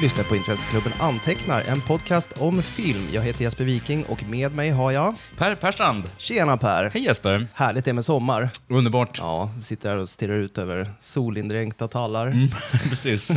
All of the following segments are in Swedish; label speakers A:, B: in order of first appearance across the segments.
A: lyssnar på Intresseklubben Antecknar, en podcast om film. Jag heter Jesper Viking och med mig har jag...
B: Per Perstrand.
A: Tjena Per!
B: Hej Jesper.
A: Härligt det är med sommar.
B: Underbart.
A: Ja, vi sitter här och stirrar ut över solindränkta tallar.
B: Mm. Precis.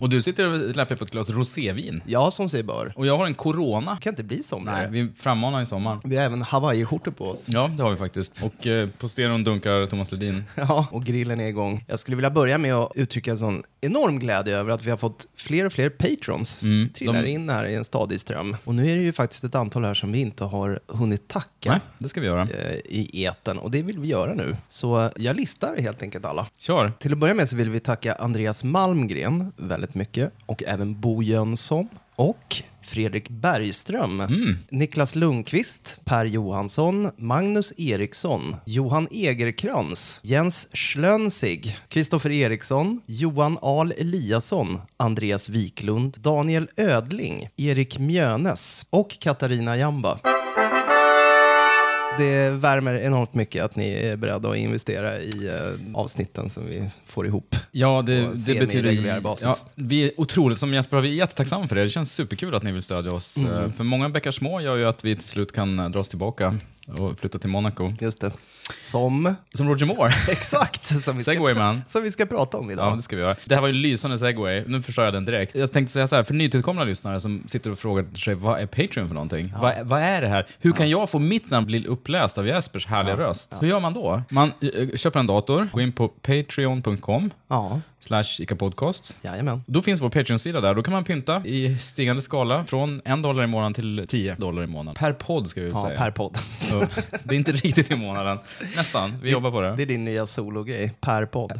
B: Och du sitter och läppar på ett glas rosévin.
A: Ja, som sig bör.
B: Och jag har en corona.
A: Det kan inte bli somrigare.
B: Nej, vi frammanar en sommar.
A: Vi har även hawaiiskjortor på oss.
B: Ja, det har vi faktiskt. Och eh, på stereon dunkar Thomas Ledin.
A: Ja, och grillen är igång. Jag skulle vilja börja med att uttrycka en sån enorm glädje över att vi har fått fler och fler patrons. Trillar
B: Mm. de-
A: in här i en stadig ström. Och nu är det ju faktiskt ett antal här som vi inte har hunnit tacka
B: Nej, det ska vi göra.
A: eh, i eten och det vill vi göra nu. Så jag listar helt enkelt alla.
B: Kör.
A: Till att börja med så vill vi tacka Andreas Malmgren väldigt mycket och även Bo Jönsson och Fredrik Bergström, Niklas Lundqvist, Per Johansson, Magnus Eriksson, Johan Egerkrans, Jens Schlönsig, Kristoffer Eriksson, Johan Ahl Eliasson, Andreas Wiklund, Daniel Ödling, Erik Mjönes och Katarina Jamba. Det värmer enormt mycket att ni är beredda att investera i eh, avsnitten som vi får ihop.
B: Ja,
A: Och
B: det, det
A: semi-reguljär
B: betyder...
A: basis.
B: Ja, vi är otroligt, som Jesper, har vi är jättetacksamma för det. Det känns superkul att ni vill stödja oss. Eh, För många bäckar små gör ju att vi till slut kan eh, dra oss tillbaka och flytta till Monaco.
A: Just det. Som,
B: Som Roger Moore.
A: exakt, som vi, ska,
B: Segwayman.
A: som vi ska prata om
B: Ja,
A: idag.
B: det ska vi göra. Det här var ju en lysande segway. Nu förstår jag den direkt. Jag tänkte säga så här, för nytillkomna lyssnare som sitter och frågar sig vad är Patreon för någonting? Vad, vad är det här? Hur kan jag få mitt namn bli uppläst av Jespers härliga röst? Hur gör man då? Man eh, köper en dator, går in på patreon.com
A: Ja,
B: slash icapodcast.
A: jajamän.
B: Då finns vår Patreon-sida där. Då kan man pynta i stigande skala från en dollar i månaden till 10 dollar i månaden. Per podd ska vi väl
A: Ja,
B: säga.
A: per podd.
B: Så, Det är inte riktigt i månaden. Nästan. Vi jobbar på
A: Det är din nya sologrej, per podd.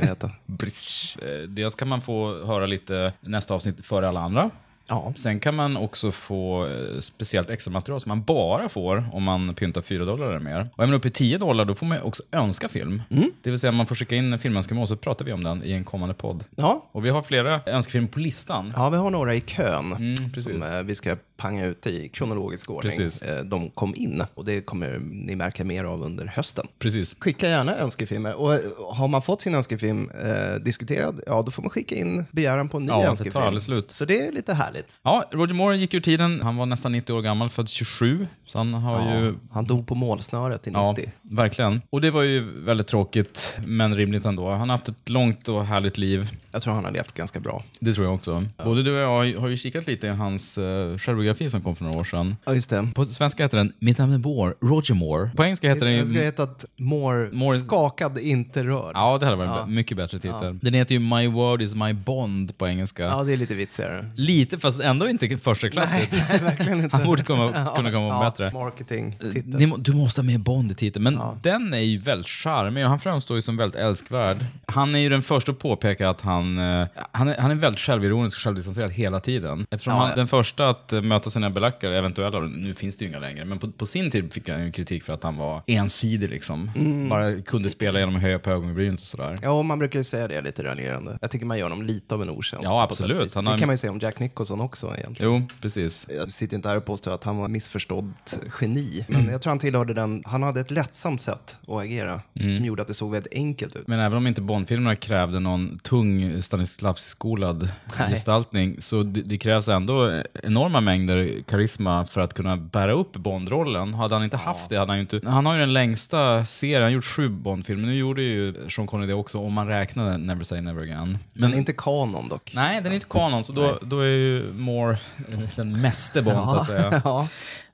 A: det heter.
B: Bridge. Eh, Dels kan man få höra lite nästa avsnitt före alla andra.
A: Ja,
B: Sen kan man också få eh, speciellt extra material som man bara får om man pyntar 4 dollar eller mer. Och även upp i 10 dollar då får man ju också önska film. Det vill säga man får skicka in en filmönskemål så pratar vi om den i en kommande podd.
A: ja.
B: Och vi har flera önskefilmer på listan.
A: ja vi har några i kön som
B: precis.
A: eh, vi ska panga ut i kronologisk ordning.
B: Precis.
A: Eh, De kom in och det kommer ni märka mer av under hösten.
B: Precis.
A: Skicka gärna önskefilmer. Och eh, har man fått sin önskefilm eh, diskuterad, ja då får man skicka in begäran på en ny
B: Ja, det tar
A: önskefilm.
B: aldrig slut.
A: Så det är lite härligt.
B: Ja, Roger Moore gick ur tiden. Han var nästan 90 år gammal, född 27. Så han har ju
A: Han dog på målsnöret i 90.
B: Ja, verkligen. Och det var ju väldigt tråkigt, men rimligt ändå. Han har haft ett långt och härligt liv.
A: Jag tror han har levt ganska bra.
B: Det tror jag också. Både du och jag har ju- har ju kikat lite i hans uh, självbiografi som kom för några år sedan.
A: Ja, just det.
B: På svenska heter den Mitt namn är Moore, Roger Moore. På engelska heter den
A: Den ska
B: ju...
A: heta att More,
B: More-
A: skakad, inte rörd. Ja.
B: Ja, det hade varit en b- mycket bättre titel. Den heter ju My word is my bond på engelska.
A: det är lite vitsigare.
B: Lite, fast ändå inte första klassigt.
A: Nej, verkligen inte.
B: Han borde komma, kunna komma bättre. Eh.
A: Marketing, titel.
B: Ni, må- du måste ha med Bond i titeln, men den är ju väldigt charmig och han framstår ju som väldigt älskvärd. Han är ju den första att påpeka att han, eh, han, är, han är väldigt självironisk och självdistanserad hela tiden. Eftersom han den första att eh, möta sina belackare, eventuella, nu finns det ju inga längre, men på, på sin tid fick han ju kritik för att han var ensidig liksom. Bara kunde spela genom att höja på ögonbrynet och sådär.
A: Ja, och man brukar ju säga det lite raljerande. Jag tycker man gör honom lite av en otjänst.
B: Ja,
A: på sätt och
B: absolut.
A: vis.
B: Han
A: Det
B: har-
A: kan man ju säga om Jack Nicholson också egentligen.
B: Jo, precis.
A: Jag sitter inte här och påstår att han var missförstådd geni, men jag tror han tillhörde den, han hade ett lättsamt sätt att agera
B: Mm.
A: som gjorde att det såg väldigt enkelt ut.
B: Men även om inte Bondfilmerna krävde någon tung Stanislavski-skolad gestaltning så det, det krävs ändå enorma mängder karisma för att kunna bära upp Bondrollen. Hade han inte haft det hade han ju inte... Han har ju den längsta serien, han har gjort sju Bondfilmer. Nu gjorde ju Sean Connery det också om man räknade Never Say Never Again. Men
A: Men inte kanon dock.
B: Nej, den är inte kanon, så då, då är ju Moore eh, den mäste Bond, så att säga.
A: Ja.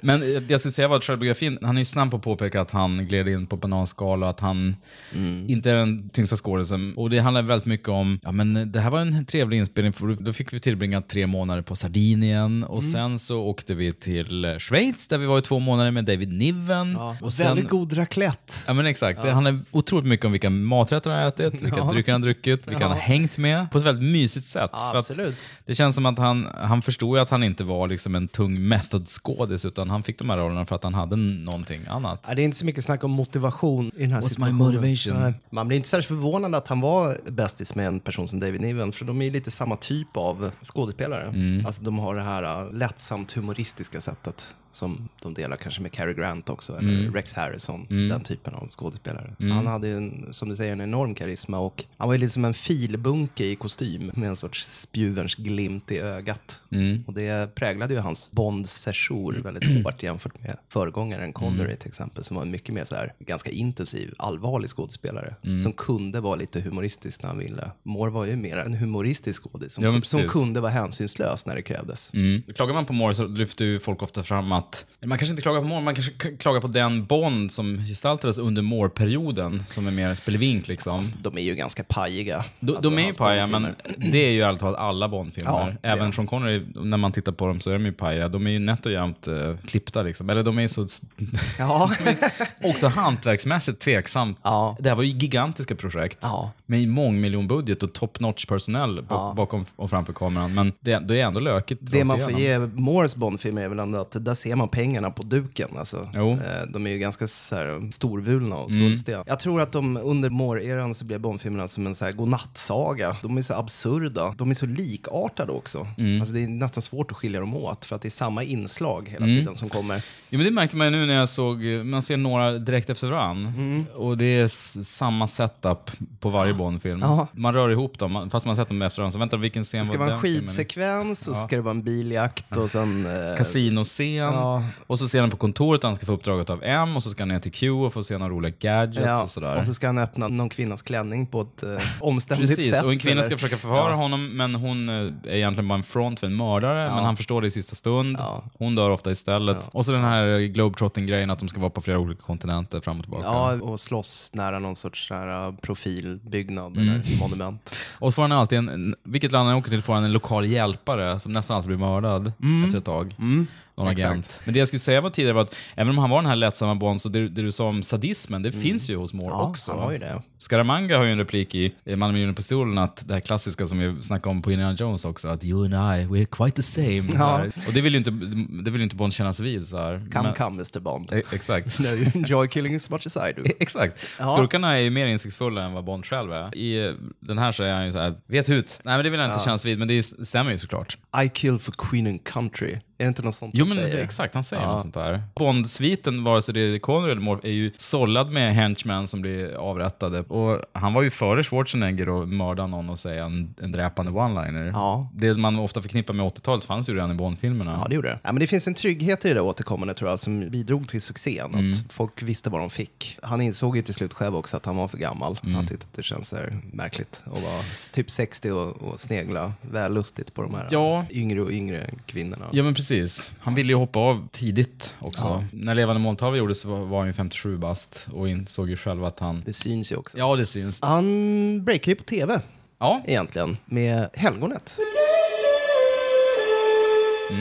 B: Men eh, det jag skulle säga var att självbiografin, han är ju snabb på att påpeka att han gled in på bananskal och att han
A: Mm.
B: inte är den tyngsta skådisen. Och det handlar väldigt mycket om, ja men eh, det här var en trevlig inspelning för då fick vi tillbringa tre månader på Sardinien och
A: Mm.
B: sen så åkte vi till eh, Schweiz där vi var i två månader med David Niven. Och sen,
A: Väldigt god raclette.
B: Ja men exakt. Det handlar otroligt mycket om vilka maträtter han har ätit, vilka drycker han har druckit, vilka han har hängt med. På ett väldigt mysigt sätt.
A: Ja,
B: För att
A: absolut.
B: Det känns som att han, han förstod ju att han inte var liksom en tung method-skådis, utan han fick de här rollerna för att han hade någonting annat.
A: Ja, det är inte så mycket snack om motivation i den här
B: What's my
A: situationen.
B: motivation?
A: Nej. Man blir inte särskilt förvånad att han var bästis med en person som David Niven, för de är ju lite
B: Mm.
A: samma typ av skådespelare. Alltså de har det här äh, lättsamt humoristiska sättet som de delar kanske med Cary Grant också, eller
B: Mm.
A: Rex Harrison, den typen av skådespelare. Han hade ju, en, som du säger, en enorm karisma och han var ju lite som en filbunke i kostym med en sorts spjuverns glimt i ögat.
B: Mm.
A: Och det präglade ju hans Bond-session väldigt hårt jämfört med
B: Mm.
A: föregångaren Connery till exempel, som var en mycket mer så här, ganska intensiv, allvarlig skådespelare,
B: Mm.
A: som kunde vara lite humoristisk när han ville. Moore var ju mer en humoristisk skådis, som,
B: Ja, men
A: som
B: precis.
A: kunde vara hänsynslös när det krävdes.
B: Mm. Klagar man på Moore så lyfter ju folk ofta fram att man kanske inte klagar på Moore, man kanske k- klagar på den Bond som gestaltades under Moore-perioden som är mer spelvink liksom.
A: De är ju ganska pajiga.
B: De,
A: Alltså,
B: de är ju
A: hans
B: paja, men
A: Bondfilmer.
B: det är ju ärligt talat alla Bondfilmer.
A: Ja, det är
B: Även från Connery, när man tittar på dem så är de ju paja. De är ju nätt och jämnt eh, klippta liksom. Eller de är ju så...
A: Ja.
B: också hantverksmässigt tveksamt.
A: Ja.
B: Det här var ju gigantiska projekt.
A: Ja.
B: Med mångmiljonbudget och top notch personell bak- bakom och framför kameran. Men det, det är ändå lökigt.
A: Det
B: rakt
A: man får
B: igenom.
A: ge Moores Bondfilmer är väl ändå att där ser man pengarna på duken. Alltså,
B: Jo. Mm.
A: Eh, de är ju ganska så här, storvulna och svulstiga. Jag tror att de under Moore-eran så blev Bondfilmerna som en så här godnattsaga. De är så absurda. De är så likartade också.
B: Mm.
A: Alltså, det är nästan svårt att skilja dem åt för att det är samma inslag hela
B: Mm.
A: tiden som kommer.
B: Ja, men det märkte man ju nu när jag såg, man ser några direkt efter varandra.
A: Mm.
B: Och det är s- samma setup på varje Bond-film.
A: Ja.
B: Man rör ihop dem, man- fast man har sett dem efter varandra. Så vänta, vilken scen
A: Det ska
B: var
A: vara en
B: den filmen?
A: skidsekvens och så ska det vara en biljakt och sen... eh,
B: Kasinoscen.
A: Ja.
B: Och så scenen på kontoret där han ska få uppdraget av M och så ska han ner till Q och få se några roliga gadgets
A: Ja,
B: och sådär.
A: och så ska han öppna någon kvinnas klänning på ett eh, omständigt
B: Precis,
A: sätt.
B: och en kvinna
A: eller-
B: ska försöka förhöra honom men hon eh, är egentligen bara en front för en mördare men han förstår det i sista stund. Hon dör ofta istället. Och så den här globetrotting-grejen att de ska vara på flera olika kontinenter fram och tillbaka.
A: Ja, och slåss nära någon sorts så här, uh, profilbyggnad eller monument.
B: Och får han alltid en- en, vilket land han åker till får han en lokal hjälpare som nästan alltid blir mördad
A: Mm.
B: efter ett tag. Någon agent. Men det jag skulle säga var tidigare var att även om han var den här lättsamma Bond, så det, det du sa om sadismen, det finns ju hos Moore
A: Mm. Ja,
B: också.
A: han har ju det.
B: Scaramanga har ju en replik i eh, Man miljoner pistolen att det här klassiska som vi snackade om på Indiana Jones också, att you and I, we're quite the same. Där. Och det vill ju inte, det vill ju inte Bond kännas vid. Så här.
A: Come,
B: Men-
A: come Mr Bond.
B: e- Exakt.
A: No, you enjoy killing as much as I do.
B: Exakt.
A: Ja.
B: Skurkarna är ju mer insiktsfulla än vad Bond själv är. I eh, den här så är han ju så här, vet hut. Nej men det vill jag inte kännas vid, men det s- stämmer ju såklart.
A: I kill for queen and country. Är det inte något sånt
B: Jo
A: han
B: men
A: säger?
B: exakt, han säger något sånt där. Bond-sviten, vare sig det är Connery eller Moore, är ju sållad med henchmen som blir avrättade. Och han var ju före Schwarzenegger och mörda någon och säga en, en dräpande one-liner.
A: Ja.
B: Det man ofta förknippar med 80-talet fanns ju redan i Bond-filmerna.
A: Ja, det gjorde det. Ja, men det finns en trygghet i det där återkommande tror jag som bidrog till succén. Att folk visste vad de fick. Han insåg ju till slut själv också att han var för gammal. Han tyckte att det känns så här märkligt att vara s- typ 60 och, och snegla väl lustigt på de här
B: Ja.
A: yngre och yngre kvinnorna.
B: Ja men precis. Han ville ju hoppa av tidigt också. När Levande måltavla gjordes så var var han ju 57 bast och insåg ju själv att han...
A: Det syns ju också.
B: Ja, det syns.
A: Han breakar ju på tv
B: Ja.
A: egentligen med Helgonet.
B: Mm.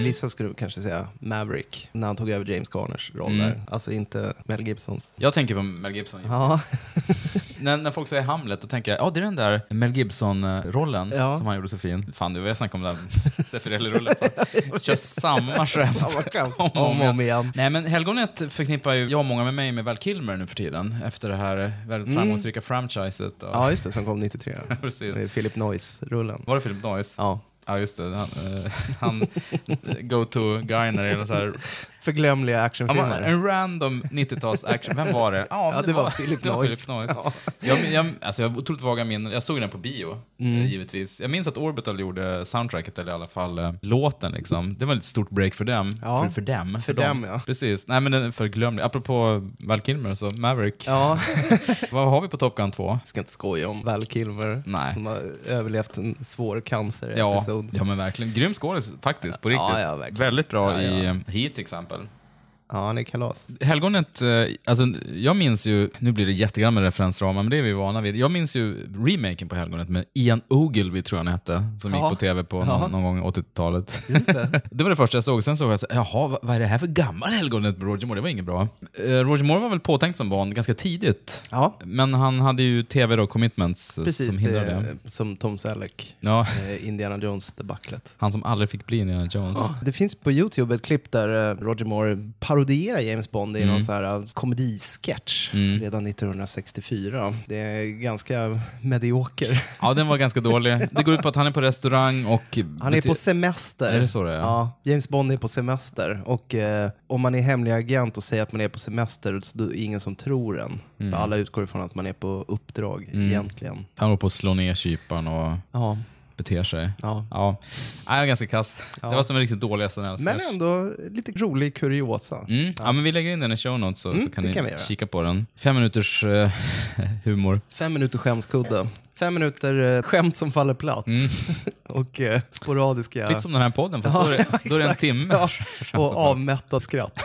A: Vissa skulle kanske säga Maverick, när han tog över James Garners roll där. Alltså inte Mel Gibsons.
B: Jag tänker på Mel Gibson.
A: Ja,
B: När, när folk säger Hamlet, då tänker jag ja det är den där Mel Gibson-rollen
A: Ja.
B: som han gjorde så fin. Fan, du jag snackade om den Zeffirelli-rullen för. Kör samma skämt.
A: Samma skämt. Om och om igen.
B: Nej, men Helgonet förknippar ju jag och många med mig med Val Kilmer nu för tiden. Efter det här väldigt framgångsrika franchiset. Och,
A: Mm. ja just det, som kom 93.
B: Precis.
A: Det är Philip Noyce-rullen.
B: Var det Philip Noyce?
A: Ja.
B: Ja, just det. Han, eh, han go-to-guy när det gäller så här.
A: Förglömliga
B: Han var
A: actionfilmer.
B: en random 90-tals action. Vem var det?
A: Ja, det var Philip
B: det var
A: Noyce.
B: Noyce. Jag, jag, alltså, jag har otroligt vaga minnen. Jag såg den på bio,
A: Mm.
B: eh, givetvis. Jag minns att Orbital gjorde soundtracket, eller i alla fall eh, låten. Liksom. Det var ett stort break för dem.
A: Ja.
B: För, för dem.
A: För dem, ja.
B: Precis. Nej, men den är förglömlig. Apropå Val Kilmer, så Maverick.
A: Ja,
B: Vad har vi på Top Gun 2?
A: ska inte skoja om Val Kilmer.
B: Nej.
A: Han har överlevt en svår
B: Ja,
A: cancer-episod.
B: ja, men verkligen. Grym skådis faktiskt, på riktigt.
A: ja, verkligen.
B: Väldigt bra
A: Ja, ja.
B: i eh, Heat till exempel.
A: ja, han är kalas.
B: Helgonet, eh, alltså, jag minns ju, nu blir det jättegrann med referensramar, men det är vi vana vid. Jag minns ju remaken på Helgonet med Ian Ogilvy, tror jag han hette, som
A: Ja.
B: gick på tv på någon, någon gång i 80-talet.
A: Just det.
B: Det var det första jag såg. Sen såg jag så, jaha, vad- vad är det här för gammal Helgonet med Roger Moore? Det var inget bra. Eh, Roger Moore var väl påtänkt som Bond ganska tidigt,
A: Ja,
B: men han hade ju tv då, commitments, eh,
A: precis.
B: som
A: det,
B: hindrade. Det.
A: är som Tom Selleck.
B: Ja,
A: eh, Indiana Jones-debaclet.
B: han som aldrig fick bli Indiana Jones.
A: Det finns på Youtube ett klipp där eh, Roger Moore parodiera James Bond i någon så här eh, komedisketch redan 1964. Det är ganska medioker.
B: Ja, den var ganska dålig. Det går ut på att han är på restaurang och...
A: Han är på semester.
B: Är det så det är?
A: Ja, James Bond är på semester. Och eh, om man är hemlig agent och säger att man är på semester, så då är det ingen som tror en. För alla utgår ifrån att man är på uppdrag egentligen.
B: Han håller på att slå ner kyparen och
A: Mm. Ja,
B: beter sig.
A: ja.
B: Ja. Nej, jag var ganska kass. Det var som en riktigt dålig SNL-sketch.
A: Men ändå lite rolig kuriosa.
B: Mm. Ja. men vi lägger in den i show notes så, så kan
A: Mm, det
B: ni
A: kan vi göra.
B: kika på den. Fem minuters eh, humor.
A: Fem minuter skämskudde. Fem minuter eh, skämt som faller platt. och eh, sporadiska...
B: Mm. Lite som den här podden, fast då, är det, då är det en
A: exakt.
B: timme.
A: Ja,
B: så
A: Och
B: bra.
A: avmätta skratt.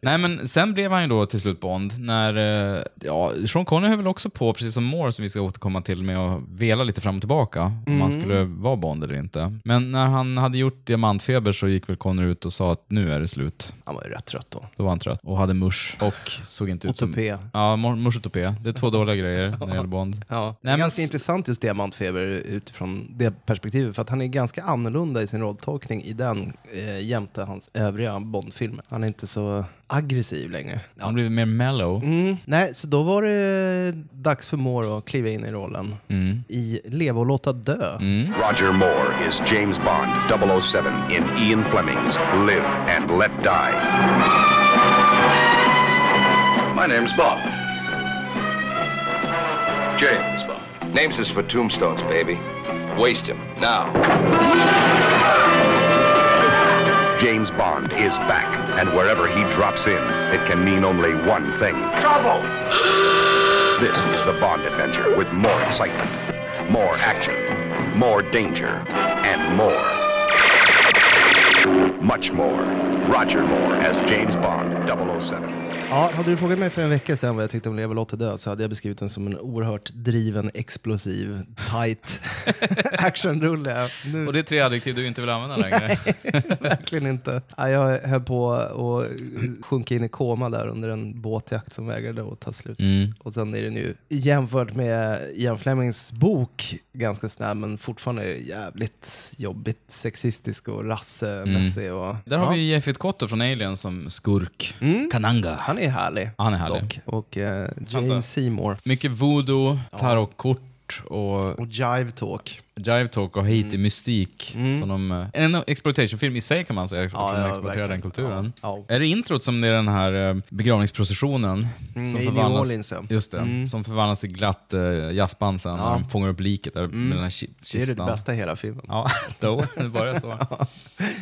B: Nej, men sen blev han ju då till slut Bond när... eh, Ja, Sean Connery höll väl också på, precis som Moore som vi ska återkomma till, med att vela lite fram och tillbaka om
A: Mm.
B: han skulle vara Bond eller inte. Men när han hade gjort Diamantfeber så gick väl Connery ut och sa att nu är det slut.
A: Han var ju rätt trött då.
B: Då var han trött och hade musch och såg inte ut som...
A: Tupé.
B: Ja, mor- musch och tupé. Det är två dåliga grejer när det gäller Bond.
A: Ja.
B: Nej,
A: det är
B: men
A: ganska
B: s-
A: intressant just Diamantfeber utifrån det perspektivet. För att han är ganska annorlunda i sin rolltolkning i den eh, jämte hans övriga Bondfilmer. Han är inte så aggressiv längre. Ja.
B: Han blev mer mellow.
A: Mm. Nej, så då var det dags för Moore att kliva in i rollen.
B: Mm.
A: I Leva och låta dö.
C: Roger Moore is James Bond 007 in Ian Fleming's Live and Let Die. My name's Bob. James Bond.
D: Names is for tombstones, baby. Waste him. Now.
C: James Bond is back, and wherever he drops in, it can mean only one thing trouble. This is the Bond adventure with more excitement, more action, more danger, and more. Much more. Roger Moore as James Bond 007.
A: Ja, hade du frågat mig för en vecka sedan vad jag tyckte om Leva och låta dö så hade jag beskrivit den som en oerhört driven, explosiv, tight actionrulle. Nu
B: Och det är tre adjektiv du inte vill använda längre.
A: Verkligen inte. Ja, jag höll på att sjunka in i koma där under en båtjakt som vägrade att ta slut.
B: Mm.
A: Och sen är den ju, jämfört med Ian Flemings bok, ganska snabb men fortfarande jävligt jobbigt sexistisk och rassemässig. Och,
B: Där
A: ja,
B: har vi ju Jeffet Kotter från Alien som skurk. Kananga.
A: Han är härlig.
B: Han är härlig.
A: Dock. Och eh,
B: Vänta.
A: Jane Seymour.
B: Mycket voodoo, tarotkort och
A: Och Jive Talk.
B: jive talk och
A: Mm.
B: haiti-mystik. som de, eh, En exploitationfilm i sig kan man säga, eftersom de
A: ja,
B: exploiterar
A: verkligen.
B: Liksom den kulturen.
A: Ja.
B: Är det introt som det är den här eh, begravningsprocessionen? som
A: Mm, i New
B: förvandlas-
A: Orleans, ja. Mm.
B: Just det, som förvandlas till glatt eh, jazzband sen när de fångar upp liket där, med den här ki-
A: Mm. Det är det
B: kistan.
A: bästa i hela filmen.
B: Ja, då, det börjar så.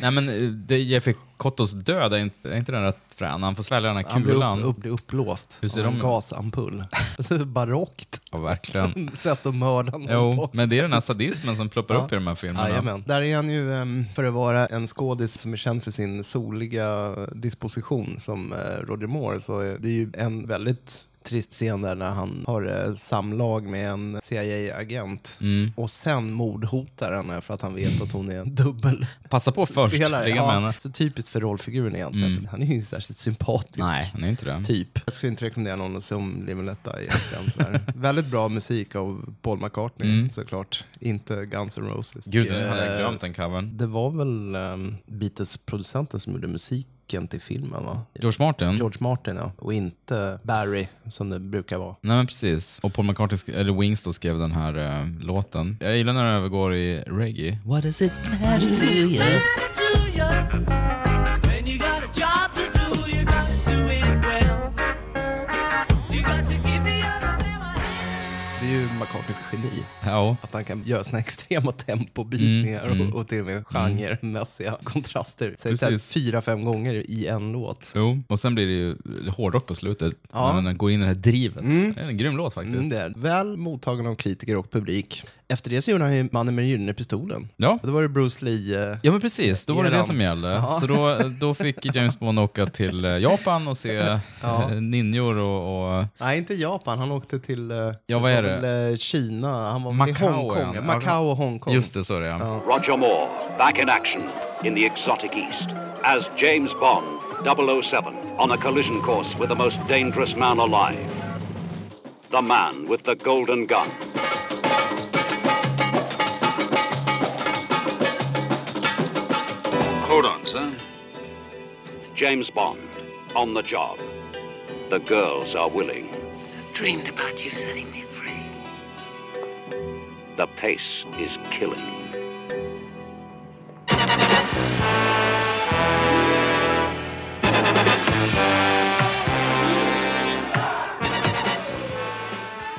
B: Nej men eh, det är Jeffy Kottos död, är inte, är inte den rätt frän? Han får svälja den här
A: Han blir
B: kulan.
A: upp, upp, blir uppblåst
B: Hur ser
A: av en
B: de ut?
A: gasampull. Alltså, barockt
B: Ja, verkligen.
A: sätt att mörda någon på.
B: Jo, men det är den här sadismen som ploppar upp i de här filmerna.
A: Jajamän. Där är han ju, ehm, för att vara en skådis som är känd för sin soliga disposition som eh, Roger Moore, så är det är ju en väldigt trist scen där när han har eh, samlag med en CIA-agent
B: Mm.
A: och sen mordhotar henne för att han vet att hon är en dubbel
B: Passa på först,
A: spelare.
B: ligga med
A: Ja,
B: henne. Mm.
A: så typiskt för rollfiguren egentligen, för han är ju inte särskilt sympatisk.
B: Nej, han är inte det.
A: Typ. Jag skulle inte rekommendera någon som Limeletta egentligen. Så här. Väldigt bra musik av Paul McCartney såklart. Inte Guns N' Roses.
B: Mm. Gud, nu hade
A: Eh,
B: jag glömt den covern.
A: Det var väl um, Beatles-producenten som gjorde musiken till filmen va?
B: George Martin?
A: George Martin ja, och inte Barry som det brukar vara.
B: Nej men precis. Och Paul McCartney, sk- eller Wings då, skrev den här eh, låten. Jag gillar när den övergår i reggae.
E: What does it matter to you?
F: to ya. When you got a job to do, you got to do it well. You got to give me all the love I have.
A: Det är ju McCartneys geni.
B: Ja.
A: Att han kan göra såna extrema tempobytningar
B: Mm,
A: och, och till och med genremässiga kontraster. Säg så här
B: Precis.
A: fyra, fem gånger i en låt.
B: Jo. Och sen blir det ju hårdrock på slutet. När den går in i det här drivet. Det är en grym låt faktiskt.
A: Mm, det är. Väl mottagen av kritiker och publik. Efter det så gjorde han ju Mannen med den gyllene pistolen.
B: Ja.
A: Och då var det Bruce Lee. eh,
B: Ja men precis, då var det
A: Eran.
B: det som gällde. Så då, då fick James Bond åka till eh, Japan och se ja. ninjor och, och
A: Nej, inte Japan. Han åkte till eh,
B: Ja, vad är
A: var
B: det?
A: väl, eh, Kina. Han var väl
B: Macau
A: i
B: är
A: Hongkong.
B: han.
A: Macau och Hongkong.
B: just det, så är det ja.
G: Roger Moore, back in action in the exotic East as James Bond 007 on a collision course with the most dangerous man alive. The man with the golden gun.
D: Hold on, sir.
G: James Bond, on the job. The girls are willing.
E: Dreamed about you setting me free.
G: The pace is killing.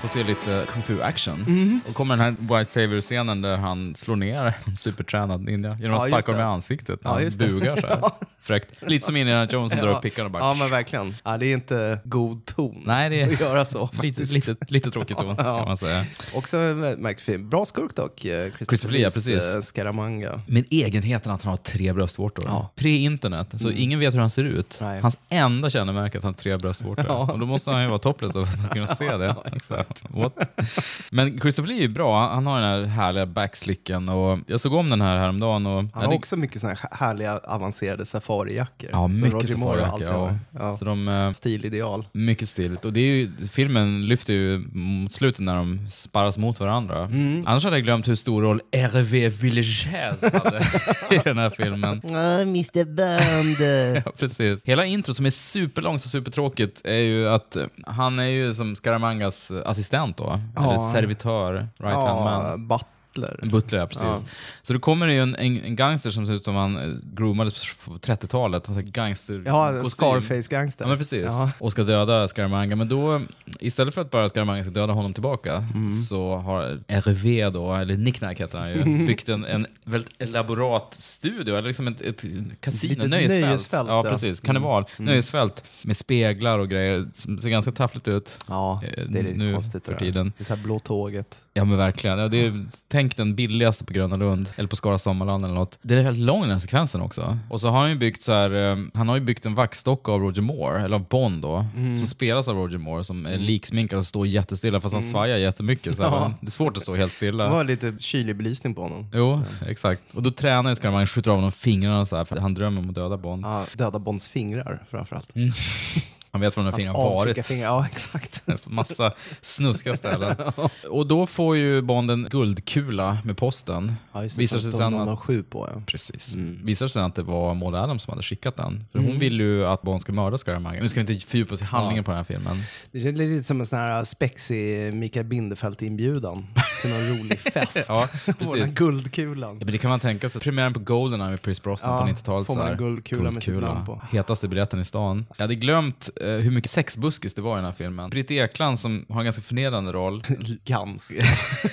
B: Får se lite kung fu action. Och kommer den här White Savior-scenen där han slår ner en supertränad ninja genom att
A: Ja, just
B: sparka honom
A: det.
B: i ansiktet när
A: Ja,
B: han
A: just det.
B: bugar så här.
A: Ja.
B: Fräckt. Lite som Indiana Jones som drar upp pickan och bara...
A: Ja, men verkligen. Ja, det är inte god ton
B: Nej, det är-
A: att göra så.
B: lite,
A: faktiskt.
B: lite, lite tråkig ton kan man säga.
A: Också en väldigt märklig film. Bra skurk dock, eh, Christopher
B: Christopher Lee,
A: Lee,
B: ja, precis.
A: eh, Scaramanga.
B: Men egenheten att han har tre bröstvårtor. Pre-internet, så ingen vet hur han ser ut.
A: Mm. Nej.
B: Hans enda kännemärke är att han har tre bröstvårtor. Och då måste han ju vara topless för att man ska kunna se det. Så, what? Men Christopher Lee är bra. Han har den här härliga backslicken. Och jag såg om den här häromdagen. Och
A: Han
B: Ja,
A: har
B: det-
A: också mycket såna här härliga avancerade safarijackor.
B: Ja,
A: som
B: mycket
A: Roger Moore
B: safarijackor.
A: alltid
B: Ja.
A: har. Ja.
B: Så de... eh,
A: Stilideal.
B: Mycket stiligt. Och det är ju, filmen lyfter ju mot slutet när de sparras mot varandra.
A: Mm.
B: Annars hade jag glömt hur stor roll R.V. Villejäs hade i den här filmen.
A: Ah, Mr Bond.
B: Ja, precis. Hela introt som är superlångt och supertråkigt är ju att eh, han är ju som Scaramangas eh, assistent då. Eller servitör, right hand
A: ja,
B: man.
A: Butler.
B: En butler, ja, precis. Så då kommer det ju en, en, en gangster som ser ut som han eh, groomades på 30-talet. En sån här gangster
A: Ja,
B: kostym.
A: Scarface-gangster.
B: Ja, men precis.
A: Ja.
B: Och ska döda Scaramanga. Men då, istället för att bara Scaramanga ska döda honom tillbaka,
A: Mm.
B: så har RV då, eller Nicknack heter han ju, byggt en, en väldigt elaborat studio, eller liksom ett, ett kasino,
A: litet
B: nöjesfält.
A: nöjesfält,
B: ja,
A: ja. Mm.
B: precis. Karneval. Nöjesfält med speglar och grejer som ser ganska taffligt ut.
A: Ja, det är
B: Eh,
A: lite
B: nu
A: konstigt.
B: för
A: tror jag.
B: tiden.
A: Det är så här blå tåget.
B: Ja men verkligen. Ja, det är, tänk den billigaste på Gröna Lund, eller på Skara Sommarland eller något. Det är väldigt lång den här sekvensen också. Och så har han ju byggt så här, eh, han har ju byggt en vaxdocka av Roger Moore, eller av Bond då,
A: Mm.
B: som spelas av Roger Moore, som är liksminkad och står jättestilla fast han svajar jättemycket. Så här, va? Det är svårt att stå helt
A: Det
B: stilla.
A: Mm. var lite kylig belysning på honom.
B: Jo, exakt. Och då tränar ju Scaramanga, skjuter av honom fingrarna så här, för han drömmer om att döda Bond.
A: Ja, döda Bonds fingrar framförallt.
B: Han vet var de där fingrarna har Mm, varit.
A: fingrar. Ja, exakt.
B: på massa snuska ställen. Och då får ju Bond en guldkula med posten.
A: Ja, just det,
B: Visar sig sen att...
A: 007 på ja.
B: Precis.
A: Mm.
B: Visar sig att det var Maud Adams som hade skickat den. För hon vill ju att Bond ska mörda Scaramanga. Nu ska vi inte fördjupa oss i handlingen på den här filmen.
A: Det känns lite som en sån här äh, spexig Mikael Bindefeld-inbjudan till någon rolig fest.
B: Ja,
A: Får den här
B: precis.
A: guldkulan.
B: Ja, men det kan man tänka sig. Premiären på Goldeneye med Pierce Brosnan
A: Ja,
B: på 90-talet.
A: får
B: så
A: man en
B: här.
A: guldkula med sitt
B: Guldkula.
A: namn på.
B: Hetaste biljetten i stan. Jag hade glömt eh, hur mycket sexbuskis det var i den här filmen. Britt Ekland som har en ganska förnedrande roll.
A: Ganska.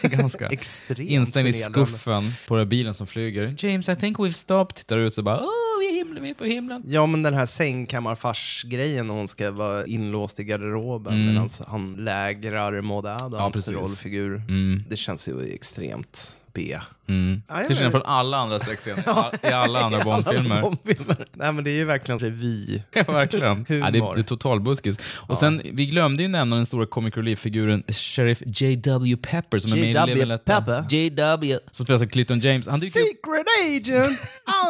B: ganska.
A: Extremt
B: Instängd i
A: förnedrande.
B: skuffen på den här bilen som flyger. James, I think we've stopped. Tittar ut så bara, åh, vi är, himlen, vi är på himlen.
A: Ja, men den här sängkammarfars-grejen när hon ska vara inlåst i garderoben medan han lägrar Maud Adams
B: Mm. precis. Mm.
A: rollfigur. Det känns ju extremt B. Ja, jag
B: Till skillnad
A: vet.
B: från alla andra sexscener i alla andra Bond-filmer.
A: Bondfilmer. Nej, men det är ju verkligen revy.
B: Ja, verkligen.
A: Humor.
B: Ja, det, det är totalbuskis. Och sen, vi glömde ju nämna den stora comic relief-figuren Sheriff J.W. Pepper som är med i
A: J.W.
B: Live and Let Die.
A: Pepper?
B: J.W. Som spelas av Clinton James. Han dyker upp...
A: Secret agent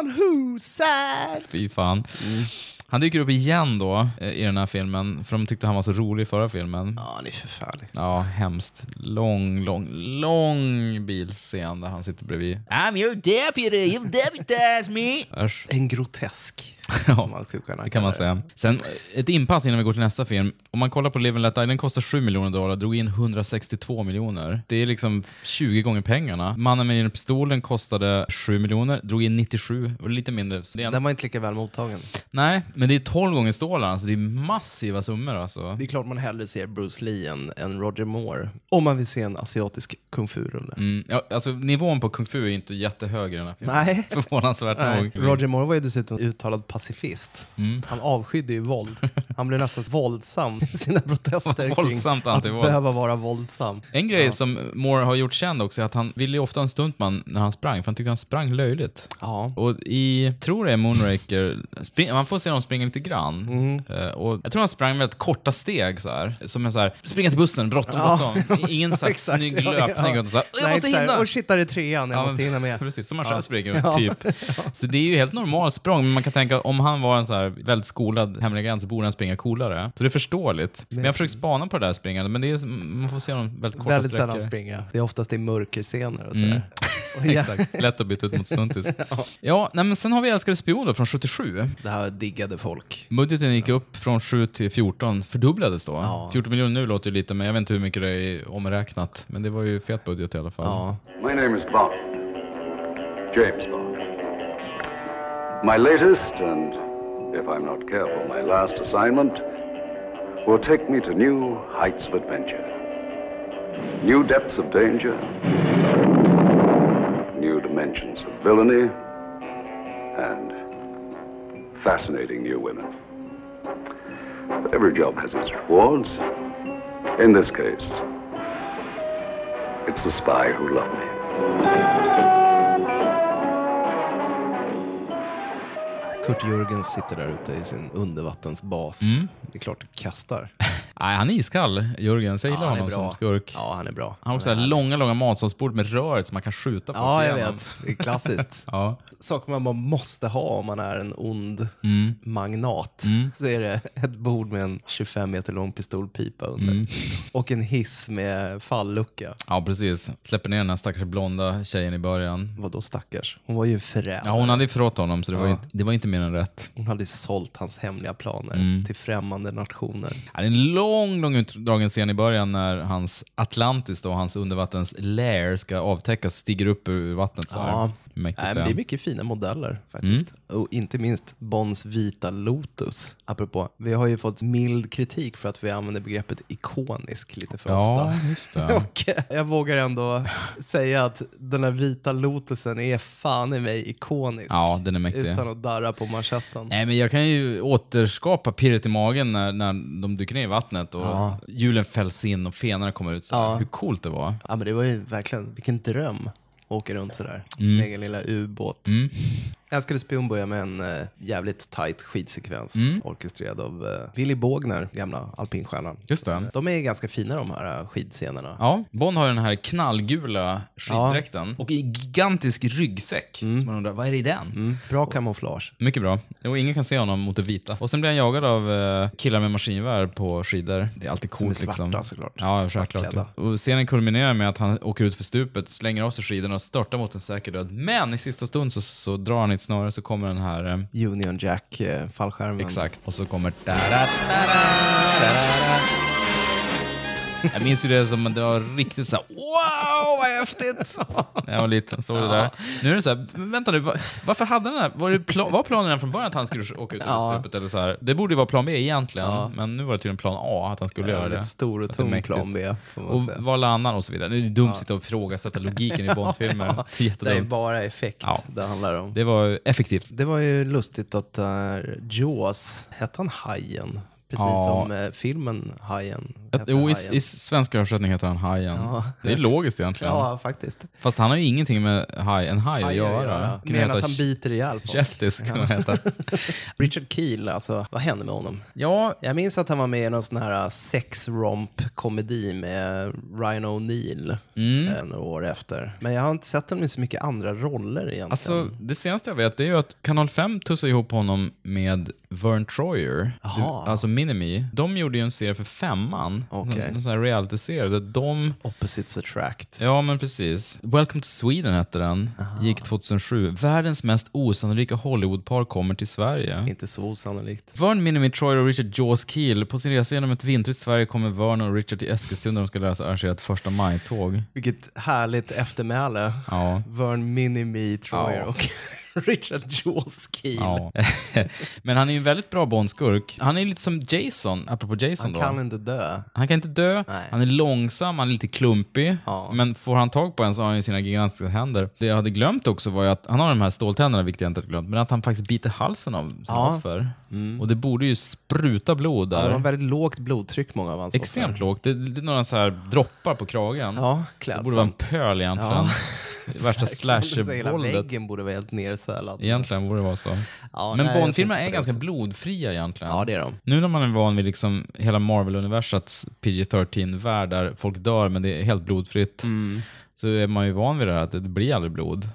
A: on whose side?
B: Fy fan. Han dyker upp igen då eh, i den här filmen, för de tyckte han var så rolig i förra filmen.
A: Ja, han är förfärlig.
B: Ja, hemskt. Lång, lång, lång bilscen där han sitter bredvid. I'm your deputy, you've deputized me! Usch.
A: En grotesk.
B: Ja.
A: om man skulle kunna
B: Det kan man
A: kalla
B: säga. Sen eh, ett inpass innan vi går till nästa film. Om man kollar på Live and Let Die, den kostar 7 miljoner dollar, drog in 162 miljoner. Det är liksom 20 gånger pengarna. Mannen med den pistolen kostade 7 miljoner, drog in 97 och lite mindre. Så det är en...
A: Den var inte lika väl mottagen.
B: Nej, men det är 12 gånger stålarna, så det är massiva summor alltså.
A: Det är klart man hellre ser Bruce Lee än, än Roger Moore. Om man vill se en asiatisk kung fu-rulle.
B: Mm, ja, alltså nivån på kung fu är inte jättehög i den här filmen.
A: Nej.
B: Förvånansvärt
A: Nej.
B: nog.
A: Roger Moore var ju dessutom uttalad pacifist.
B: Mm.
A: Han avskydde ju våld. Han blev nästan våldsam i sina protester
B: Våldsamt
A: kring att
B: antivåld.
A: behöva vara våldsam.
B: En grej som Moore har gjort känd också är att han ville ju ofta ha en stuntman när han sprang, för han tyckte han sprang löjligt.
A: Ja.
B: Och i, tror det är Moonraker, spring, man får se honom springa lite grann.
A: Mm.
B: Eh, och jag tror han sprang väldigt korta steg så här. Som en så här, springa till bussen, bråttom, bråttom. Ingen så här
A: Exakt,
B: snygg
A: ja, ja.
B: löpning. Utan så här, jag
A: Nej,
B: måste
A: så här,
B: hinna!
A: Och shit, där är trean, jag
B: Ja,
A: måste
B: men-
A: hinna med.
B: Precis, som man själv springer typ. Så det är ju helt normal språng, men man kan tänka, om han var en så här väldigt skolad hemlig agent så borde han springa coolare. Så det är förståeligt. Men jag försöker spana på det där springandet, men det är, man får se honom väldigt korta
A: Väldigt
B: sträckor. Mm.
A: sällan springa. Det är oftast i mörkerscener och sådär. Och ja,
B: Exakt. Lätt att byta ut mot stuntis. ja. nej, men sen har vi Älskade spion då, från 77.
A: Det här diggade folk.
B: Budgeten gick upp från 7 till 14, fördubblades då. 14 miljoner nu låter ju lite, men jag vet inte hur mycket det är omräknat. Men det var ju fet budget i alla fall.
A: Ja.
C: My name is Bond. James Bond. My latest, and if I'm not careful, my last assignment will take me to new heights of adventure, new depths of danger, new dimensions of villainy, and fascinating new women. Every job has its rewards. In this case, it's the spy who loved me.
A: Kurt Jürgens sitter där ute i sin undervattensbas.
B: Mm.
A: Det är klart det kastar.
B: Nej, han är iskall, Jörgen. Så jag gillar
A: han är
B: honom som
A: bra.
B: skurk.
A: Ja, han är bra. Mm.
B: Han har också det här långa, långa matsalsbord med röret som man kan skjuta folk
A: Ja, jag
B: igenom.
A: vet. Det är klassiskt.
B: Ja.
A: Saker man bara måste ha om man är en ond
B: Mm.
A: magnat. Så är det ett bord med en 25 meter lång pistolpipa under.
B: Mm.
A: Och en hiss med fallucka.
B: ja, precis. Släpper ner den här stackars blonda tjejen i början.
A: Vadå stackars? Hon var ju förrädare.
B: Ja, hon hade ju förrått honom, så det, var, ju, det var inte mer än rätt.
A: Hon hade sålt hans hemliga planer
B: Mm.
A: till främmande nationer.
B: Ja, det är en lång, lång utdragen scen i början när hans Atlantis då, hans undervattens lair ska avtäckas, stiger upp ur vattnet så här.
A: Ja.
B: Mäktigt, Mm.
A: Nej, men det är mycket fina modeller faktiskt. Och inte minst Bonds vita Lotus. Apropå, vi har ju fått mild kritik för att vi använder begreppet ikonisk lite för
B: Ja,
A: ofta.
B: just det.
A: Och eh, jag vågar ändå säga att den här vita lotusen är fan i mig ikonisk.
B: Ja, den är mäktig.
A: Utan att darra på manschetten.
B: Nej, men jag kan ju återskapa pirret i magen när, när de dyker ner i vattnet och hjulen fälls in och fenarna kommer ut. Så här. Hur coolt det var.
A: Ja, men det var ju verkligen, vilken dröm. att Åka runt sådär, sin
B: Mm.
A: egen lilla ubåt. Älskade spion börjar med en eh, jävligt tight skidsekvens
B: Mm.
A: orkestrerad av eh, Willy Bågner, gamla alpinstjärnan.
B: Just det.
A: De är ganska fina de här eh, skidscenerna.
B: Ja, Bond har ju den här knallgula skiddräkten och en gigantisk ryggsäck. Så man undrar, vad är det i den?
A: Bra kamouflage.
B: Mycket bra. Och ingen kan se honom mot det vita. Och sen blir han jagad av eh, killar med maskingevär på skidor. Det är alltid coolt
A: Som är svarta,
B: liksom.
A: såklart.
B: Ja, självklart.
A: Svartklädda.
B: Och scenen kulminerar med att han åker ut för stupet, slänger av sig skidorna och störtar mot en säker död. Men i sista stund så, så drar han i ett snöre så kommer den här... Eh,
A: Union Jack, eh, fallskärmen.
B: exakt. Och så kommer... Jag minns ju det som att det var riktigt så här, wow vad häftigt! När jag var liten, såg det där. Nu är det så här, vänta nu, va- varför hade den här, var, det pla, var planen redan från början att han skulle åka ut över stupet eller så här? Det borde ju vara plan B egentligen, men nu var det tydligen plan A att han skulle
A: Ja,
B: göra det.
A: lite stor och
B: Att det är
A: tung
B: mäktigt.
A: plan B, får man
B: Och
A: säga.
B: var landar han och så vidare. Det är ju dumt att sitta och ifrågasätta logiken i Bondfilmer. Det är
A: Det är
B: jättedumt.
A: bara effekt
B: Ja.
A: det handlar om.
B: Det var effektivt.
A: Det var ju lustigt att eh, Jaws, hette han Hajen? Precis
B: Ja.
A: som eh, filmen Hajen. hette
B: Jo, i,
A: Hajen.
B: i svenska översättning heter han Hajen. Det är logiskt egentligen.
A: Ja, faktiskt.
B: Fast han har ju ingenting med haj, en haj att göra. Kunde
A: Menar att
B: heta
A: han biter ihjäl folk.
B: Käftis kunde han heta.
A: Richard Keel, alltså, vad hände med honom?
B: Ja,
A: Jag minns att han var med i någon sån här uh, sex-romp-komedi med Ryan O'Neill
B: Mm.
A: eh, några år efter. Men jag har inte sett honom i så mycket andra roller egentligen.
B: alltså det senaste jag vet det är ju att Kanal 5 tussade ihop honom med Vern Troyer, du, alltså Minimi. De gjorde ju en serie för femman,
A: Okej.
B: en, en sån här reality-serie där de
A: Opposites attract.
B: Ja, men precis. Welcome to Sweden hette den. Gick 2007. Världens mest osannolika Hollywoodpar kommer till Sverige.
A: Inte så osannolikt.
B: Vern Minimi Troyer och Richard Jaws Keel. På sin resa genom ett vintrigt Sverige kommer Vern och Richard till Eskilstuna där de ska lära sig arrangera ett första maj-tåg.
A: Vilket härligt eftermäle.
B: Ja.
A: Vern Minimi, Troyer
B: Ja.
A: och Richard Jaws Keel.
B: Ja. Men han är ju en väldigt bra Bondskurk. Han är ju lite som Jason, apropå Jason
A: Han
B: då.
A: kan inte dö.
B: Han kan inte dö,
A: Nej.
B: han är långsam, han är lite klumpig.
A: Ja.
B: Men får han tag på en så har han ju sina gigantiska händer. Det jag hade glömt också var ju att han har de här ståltänderna, vilket jag inte hade glömt, men att han faktiskt biter halsen av sina
A: Ja. Mm.
B: offer. Och det borde ju spruta blod
A: Han har
B: där.
A: väldigt lågt blodtryck, många av hans
B: Extremt
A: offer.
B: lågt. Det, det är några så här droppar på kragen.
A: Ja,
B: det borde vara en
A: klädsamt.
B: pöl egentligen. Värsta
A: Hela
B: slasher-våldet.
A: väggen borde vara helt nersölad.
B: Egentligen borde det vara så.
A: Ja, nej,
B: men
A: jag
B: Bondfilmerna
A: tänkte
B: är
A: på det
B: ganska
A: också.
B: blodfria egentligen.
A: Ja, det är de.
B: Nu när man är van vid liksom hela Marvel-universets PG-13-värld
A: Mm.
B: där folk dör men det är helt blodfritt. Så är man ju van vid det här att det blir aldrig blod.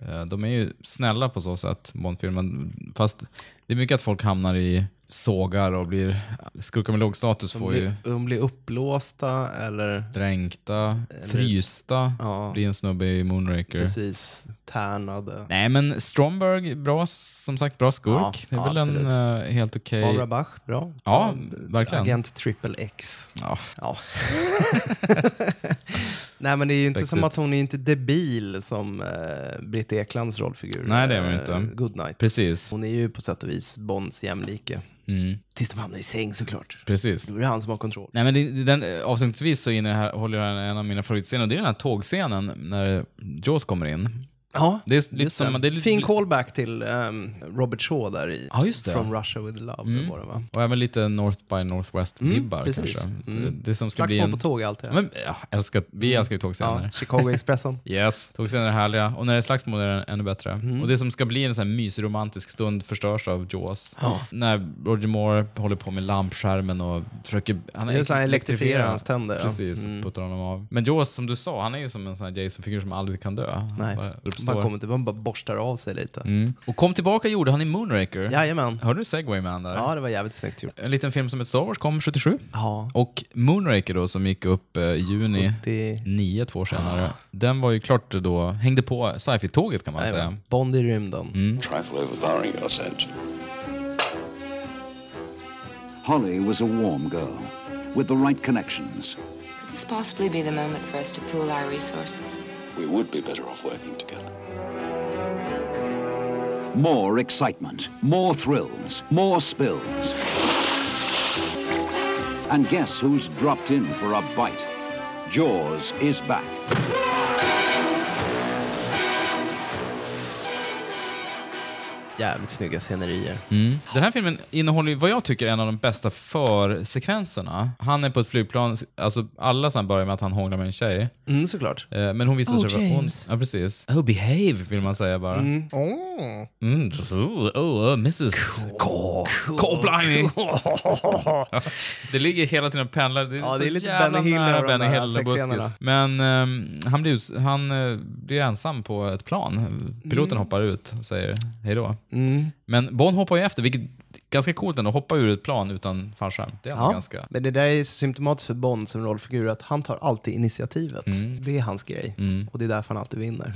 B: Eh, De är ju snälla på så sätt, Bondfilmen. Fast det är mycket att folk hamnar i sågar och blir... Skurkar med låg status får ju
A: Bli, de blir uppblåsta eller
B: dränkta, frysta,
A: Ja.
B: blir en snubbe i Moonraker.
A: precis tärnade.
B: Nej, men Stromberg, bra, som sagt, bra skurk.
A: Ja,
B: det är
A: ja,
B: väl
A: absolut.
B: en eh, helt okej...
A: Barbara Bach, bra.
B: Ja, verkligen.
A: Agent Triple X.
B: Ja.
A: Ja. Nej, men det är ju inte
B: Växt
A: som
B: upp.
A: att hon är ju inte debil som eh, Britt Eklands rollfigur.
B: Nej, det är hon ju inte.
A: Eh, Goodnight.
B: Precis.
A: Hon är ju på sätt och vis Bonds jämlike. Tills de hamnar i säng såklart.
B: Precis.
A: Då är det han som har kontroll.
B: Mm. Nej, men det- den, eh, avslutningsvis så innehåller den en av mina favoritscener. Det är den här tågscenen när Jaws kommer in.
A: Ja,
B: Det är lite
A: just
B: som...
A: det.
B: Det är lite,
A: Fin callback till ehm, Robert Shaw där i
B: Ja, just det. Mm.
A: From Russia with Love. Var det, va?
B: Och även lite North by Northwest-vibbar
A: Mm, precis.
B: kanske. Det, det som ska bli
A: Slagsmål
B: en...
A: på tåg alltid.
B: Men, ja, älskar, vi älskar ju
A: ja,
B: tågscener.
A: Chicago Expressen.
B: Yes. Tågscener är härliga. Och när det är slagsmål är det ännu bättre.
A: Mm.
B: Och det som ska bli en sån här mysig romantisk stund förstörs av Jaws. När Roger Moore håller på med lampskärmen och försöker... Han
A: Det är så han elektrifierar hans tänder, ja. Mm.
B: Precis, puttar honom av. Men Jaws, som du sa, han är ju som en sån här Jason-figur som aldrig kan dö. Han
A: Nej,
B: bara Mm.
A: man
B: uppstår.
A: kommer inte, man bara borstar av sig lite.
B: Och kom tillbaka gjorde han i Moonraker.
A: Jajamän.
B: Hörde du Segwayman där?
A: Ja, det var jävligt snyggt gjort.
B: En liten film som heter Star Wars kom 77.
A: Ja.
B: Och Moonraker då, som gick upp eh, i juni,
A: 70.
B: nio, två år senare. Den var ju klart då, hängde på sci-fi-tåget kan man säga. Mm.
A: Bond i rymden.
H: Trifle overpowering your sense.
G: Holly was a warm girl with the right connections.
I: This possibly be the moment for us to pool our resources.
H: We would be better off working together.
G: More excitement, more thrills, more spills. And guess who's dropped in for a bite? Jaws is back.
A: Jävligt snygga scenerier.
B: Den här filmen innehåller ju vad jag tycker är en av de bästa försekvenserna. Han är på ett flygplan, alltså alla sådana börjar med att han hånglar med en tjej.
A: Mm, såklart.
B: Eh, Men hon visar sig vara ond. Ja, precis. Oh, behave, vill man säga bara. Mm. Mm. Oh, oh, mrs. Cold-blinding. det ligger hela tiden och pendlar. Det är,
A: Ja,
B: så
A: det är lite
B: jävla
A: Benny Hill
B: nära
A: över de
B: Benny
A: där
B: Hill-buskis.
A: sexscenerna.
B: Men ehm, han, blir, us- han eh, blir ensam på ett plan. Piloten hoppar ut och säger hej då. Men Bond hoppar ju efter, vilket är ganska coolt ändå. Hoppa ur ett plan utan fallskärm. Det är ändå
A: Ja,
B: ganska...
A: men det där är symptomatiskt för Bond som rollfigur, att han tar alltid initiativet.
B: Mm.
A: Det är hans grej. Och det är därför han alltid vinner.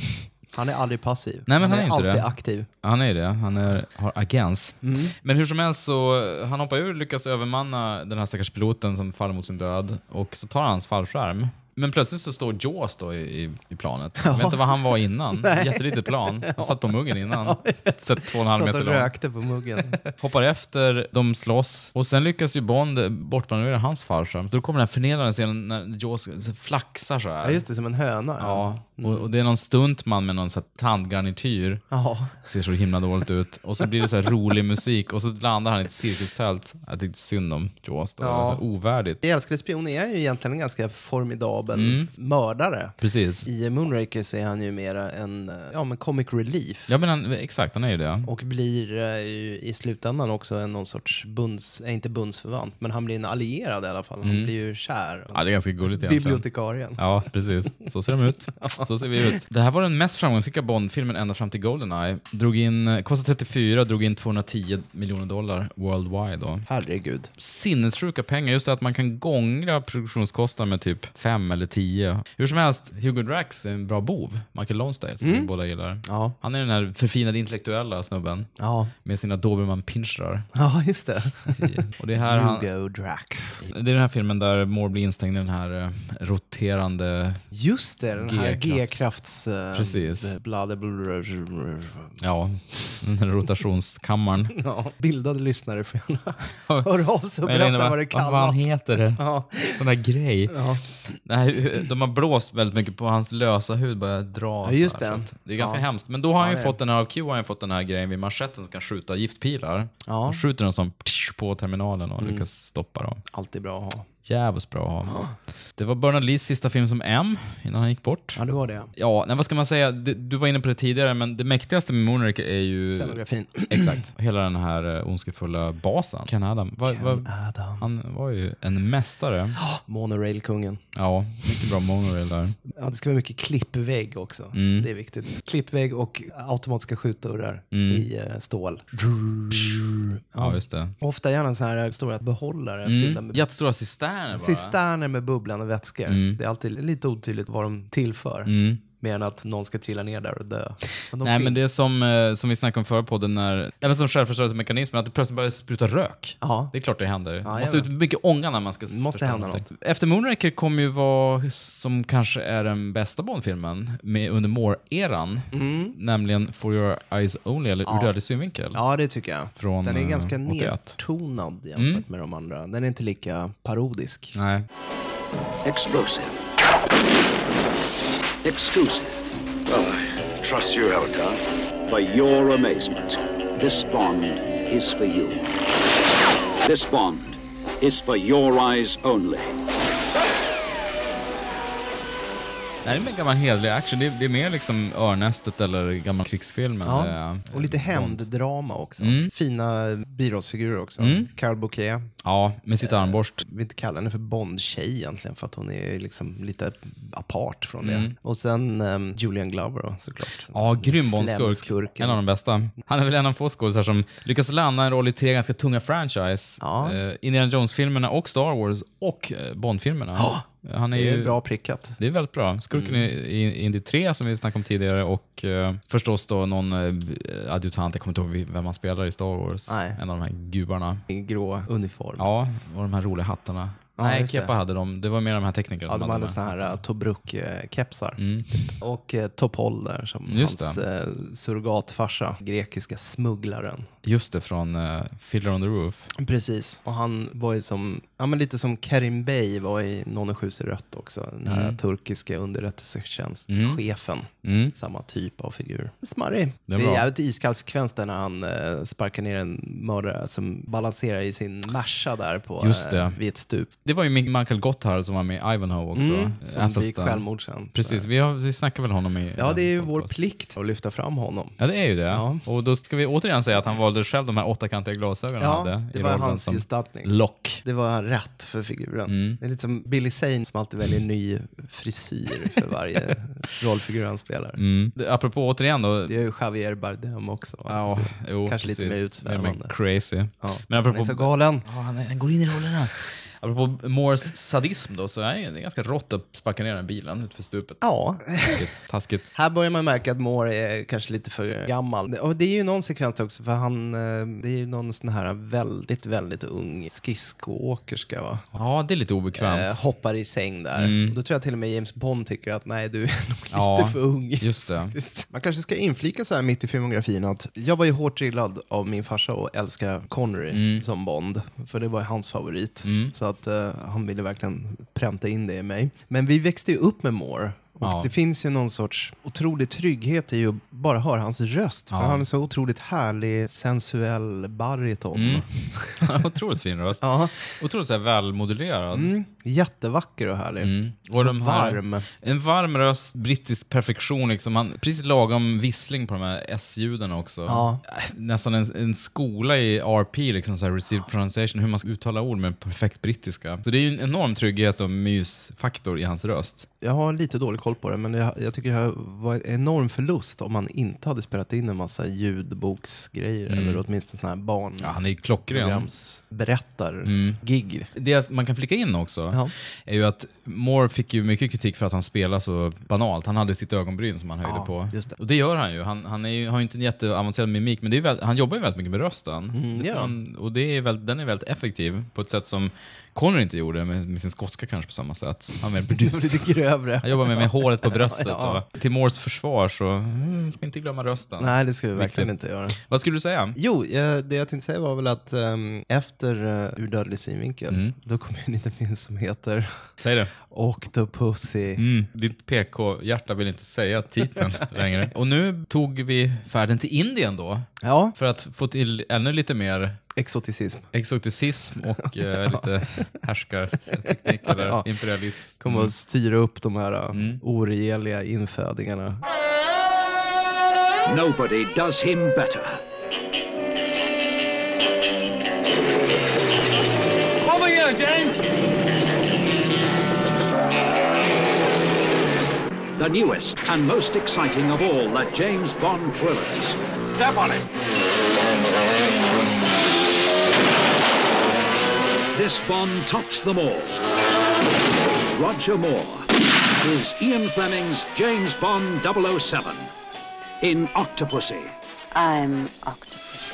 A: Han är aldrig passiv.
B: Nej, men han är inte
A: alltid
B: det.
A: aktiv.
B: Han är det. Han är, har agens.
A: Mm.
B: Men hur som helst så, han hoppar ur, lyckas övermanna den här stackars piloten som faller mot sin död och så tar han hans fallskärm. Men plötsligt så står Jaws då i, i, i planet. Jag vet inte vad han var innan. Jättelitet plan. Han satt på muggen innan. Sett två och en halv
A: Satt
B: meter
A: och
B: lång.
A: rökte på muggen.
B: Hoppar efter, de slåss och sen lyckas ju Bond bortmanövrera hans fallskärm. Då kommer den här förnedrande scenen när Jaws flaxar så här.
A: Ja, just det, som en höna.
B: Ja, och, och det är någon stuntman med någon så här tandgarnityr
A: Ja.
B: ser så himla dåligt ut. Och så blir det så här rolig musik och så landar han i ett cirkustält. Jag tyckte synd om Jaws då. Det var så här ovärdigt.
A: Det älskade spion är ju egentligen en ganska formidabel
B: Mm.
A: mördare.
B: Precis.
A: I Moonraker är han ju mera en eh, ja, men comic relief.
B: Ja men han, exakt, han är ju det.
A: Och blir eh, ju i slutändan också en någon sorts bunds, eh, inte bundsförvant, men han blir en allierad i alla fall. Han blir ju kär.
B: Mm. Ja, det är ganska gulligt egentligen.
A: Bibliotekarien.
B: Ja, precis. Så ser de ut. Så ser vi ut. Det här var den mest framgångsrika Bond-filmen ända fram till Goldeneye. Drog in, eh, kostade 34, drog in 210 miljoner dollar worldwide då.
A: Herregud.
B: sinnessjuka pengar. Just det att man kan gångra produktionskostnaden med typ fem eller tio. Hur som helst, Hugo Drax är en bra bov. Michael Lonsdale, som vi båda gillar.
A: Ja.
B: Han är den här förfinade intellektuella snubben
A: Ja,
B: med sina Dobermann-pinscher.
A: ja just det.
B: Och det är här han...
A: Hugo Drax.
B: Det är den här filmen där Moore blir instängd i den här eh, roterande...
A: Just det, den här
B: G-kraft.
A: G-krafts... eh,
B: Precis.
A: bla- bla- bla-
B: Ja, den här rotationskammaren.
A: Ja, bildade lyssnare får gärna höra av sig och berätta vad det
B: Vad han
A: kallas.
B: heter det?
A: Ja.
B: Sån där grej. Nej, de har blåst väldigt mycket på hans lösa hud, börjar dra.
A: Ja, just
B: så här,
A: det.
B: så att Det är ganska hemskt. Men då har han ju
A: det är
B: fått den här, av Q har han fått den här grejen vid manschetten som kan skjuta giftpilar. Han skjuter en sån på terminalen och
A: Mm.
B: lyckas stoppa dem.
A: Alltid bra att ha.
B: Jävligt bra att ha. Det var Bernard Lees sista film som M, innan han gick bort.
A: Ja, det var det.
B: Ja, nej, vad ska man säga? Du, du var inne på det tidigare, men det mäktigaste med Moonraker är ju...
A: Scenografin.
B: Exakt. Hela den här eh, ondskefulla basen. Ken Adam. Va, va,
A: Adam.
B: han var ju en mästare.
A: Ah, Monorail-kungen.
B: Ja, mycket bra monorail där.
A: Ja, det ska vara mycket klippvägg också.
B: Mm.
A: Det är viktigt. Klippvägg och automatiska skjutdörrar
B: Mm.
A: i eh, stål.
B: Ja, just det.
A: Ofta gärna så här stora behållare
B: Mm.
A: fyllda med
B: Jättestora cisterner bara.
A: cisterner med bubblande vätskor.
B: Mm.
A: Det är alltid lite otydligt vad de tillför. Mer än att någon ska trilla ner där och dö. Men de
B: Nej, men
A: finns.
B: det är som, eh, som vi snackade om förra podden, när, även som självförstörelsemekanismen, att det plötsligt börjar spruta rök.
A: Ja.
B: Det är klart det händer.
A: jag
B: Det måste ut
A: vet.
B: mycket ånga när man ska s-
A: Måste
B: förstöra
A: hända
B: någonting. Efter Moonraker kommer ju vara, som kanske är den bästa Bond-filmen, med under Moore-eran, nämligen For Your Eyes Only, eller Ur Dödlig Synvinkel.
A: Mm. Ja, det tycker jag.
B: Från,
A: den är
B: eh, Mm.
A: ganska
B: 81.
A: nedtonad jämfört med de andra. Den är inte lika parodisk.
B: Nej.
D: Explosive. Exclusive. Oh, I trust you, Alcon. For your amazement, this bond is for you. This bond is for your eyes only.
B: Det här är mer gammal hederlig action. Det är, det är mer liksom Örnästet eller gammal krigsfilm. eh,
A: Ja.
B: Eller,
A: Eh, Och lite hämnddrama också.
B: Mm.
A: Fina birollsfigurer också. Carol Bouquet.
B: Ja, med sitt
A: Eh.
B: armborst.
A: Vi inte kalla henne för Bond-tjej egentligen för att hon är liksom lite apart från det. Och sen ehm, Julian Glover då, såklart.
B: Mm. Ja, grym Bondskurk.
A: Slemskurken.
B: En av de bästa. Han är väl en av få skådisar som lyckas landa en roll i tre ganska tunga franchise.
A: Ja.
B: Eh, Indiana Jones-filmerna och Star Wars och eh, Bond-filmerna. Han är
A: Det
B: ju...
A: är bra Mm. prickat.
B: Det är väldigt bra. Skurken i i Indy 3 som vi snackade om tidigare och eh, förstås då någon eh, adjutant, jag kommer inte ihåg vem han spelar i Star Wars.
A: Nej.
B: En av de här gubarna.
A: I grå uniform.
B: Ja, och de här roliga hattarna. Nej,
A: just det.
B: Kepa hade de. Det var mer de här teknikerna
A: Ja,
B: som
A: de hade
B: de.
A: så här uh, Tobruk-kepsar. Typ. Och uh, Topol där, som
B: Mm. Just
A: hans eh, surrogatfarsa, grekiska smugglaren.
B: Just det, från uh, Fiddler on the Roof.
A: Precis. Och han var ju som, ja men lite som Karim Bey var i 007 i rött också. Den här turkiska underrättelsetjänstchefen. Samma typ av figur. Smarrig. Det
B: Den
A: är
B: var-
A: jävligt iskall sekvens där när han eh, sparkar ner en mördare som balanserar i sin Merca där på,
B: Just det.
A: eh, vid ett stup.
B: Det var ju Michael Gotthard som var med i Ivanhoe också.
A: Mm, Som
B: Athelstan.
A: begick självmord sen.
B: Precis, vi, har, vi snackar väl honom i...
A: Ja, det är ju
B: i
A: vår
B: podcast.
A: plikt att lyfta fram honom.
B: Ja, det är ju det. Och då ska vi återigen säga att han valde själv de här åttakantiga glasögonen han
A: Ja,
B: hade.
A: det
B: i
A: var
B: rollen
A: hans
B: som
A: gestaltning.
B: Lock.
A: Det var rätt för figuren.
B: Mm.
A: Det är lite som Billy Zane som alltid väljer ny frisyr för varje rollfigur han spelar.
B: Mm. Det- Apropå återigen då...
A: Mm. Det är ju Javier Bardem också. va?
B: Ja,
A: Så
B: jo,
A: Kanske lite mer
B: precis.
A: utsvävande.
B: crazy.
A: Ja.
B: Men
A: Han
B: apropå...
A: är så galen.
B: Ja, han, är- han går in i rollerna. Apropå Moores sadism då, så är det- det är ganska rått att sparka ner den bilen utför stupet.
A: Ja.
B: Taskigt. Taskigt.
A: Här börjar man märka att Moore är kanske lite för gammal. Och det är ju någon sekvens också, för han, eh, det är ju någon sån här väldigt, väldigt ung skridskoåkerska va?
B: Ja, det är lite obekvämt.
A: Eh, hoppar i säng där. Då tror jag till och med James Bond tycker att nej, du är nog lite
B: Mm. Ja,
A: för ung.
B: just det.
A: faktiskt. Man kanske ska inflika så här mitt i filmografin att jag var ju hårt drillad av min farsa och älskade Connery
B: Mm.
A: som Bond, för det var ju hans favorit. Så att eh, han ville verkligen pränta in det i mig. Men vi växte ju upp med Moore. Och
B: Ja.
A: Det finns ju någon sorts otrolig trygghet i att bara höra hans röst. För han är så otroligt härlig, sensuell bariton.
B: Mm. Otroligt fin röst.
A: Mm. Ja.
B: Otroligt så här välmodulerad.
A: Jättevacker och härlig.
B: Och Mm. de här,
A: Varm.
B: En varm röst, brittisk perfektion. Liksom. Han, precis lagom vissling på de här S-ljuden också.
A: Ja.
B: Nästan en, en skola i RP, liksom, så här, received pronunciation, hur man ska uttala ord med perfekt brittiska. Så det är ju en enorm trygghet och mysfaktor i hans röst.
A: Jag har lite dålig koll på det, men jag, jag tycker det här var en enorm förlust om man inte hade spelat in en massa ljudboksgrejer eller åtminstone sådana här barn.
B: Ja, han är ju klockren.
A: Mm. berättar-gig.
B: Det man kan flika in också
A: Ja.
B: är ju att Moore fick ju mycket kritik för att han spelar så banalt. Han hade sitt ögonbryn som han höjde
A: Ja,
B: på.
A: just det.
B: Och det gör han ju. Han, han är ju, har ju inte en jätteavancerad mimik, men det är väl, han jobbar ju väldigt mycket med rösten. Det
A: Mm. ja.
B: får han, och det är väl, den är väldigt effektiv på ett sätt som Connery inte gjorde, med, med sin skotska kanske på samma sätt. Han är mer burdus.
A: Lite grövre.
B: Han jobbar med, med håret på bröstet.
A: Ja.
B: Och, till Moores försvar så mm, ska inte glömma rösten.
A: Nej, det ska vi verkligen
B: Viktigt.
A: inte göra.
B: Vad skulle du säga?
A: Jo, eh, det jag tänkte säga var väl att ehm, efter eh, Ur dödlig synvinkel, då kom ju en liten film som heter
B: Säg det.
A: Octopussy.
B: Mm, ditt PK-hjärta vill inte säga titeln längre. Och nu tog vi färden till Indien då,
A: Ja,
B: för att få till ännu lite mer
A: exoticism.
B: exoticism och eh, lite härskarteknik eller imperialism.
A: Kommer att styra upp de här mm. oregeliga infödingarna.
D: Nobody does him better.
F: Over here, James!
G: the newest and most exciting of all the James Bond thrillers. Step on it! This Bond tops them all. Roger Moore is Ian Fleming's James Bond 007 in Octopussy.
I: I'm Octopus.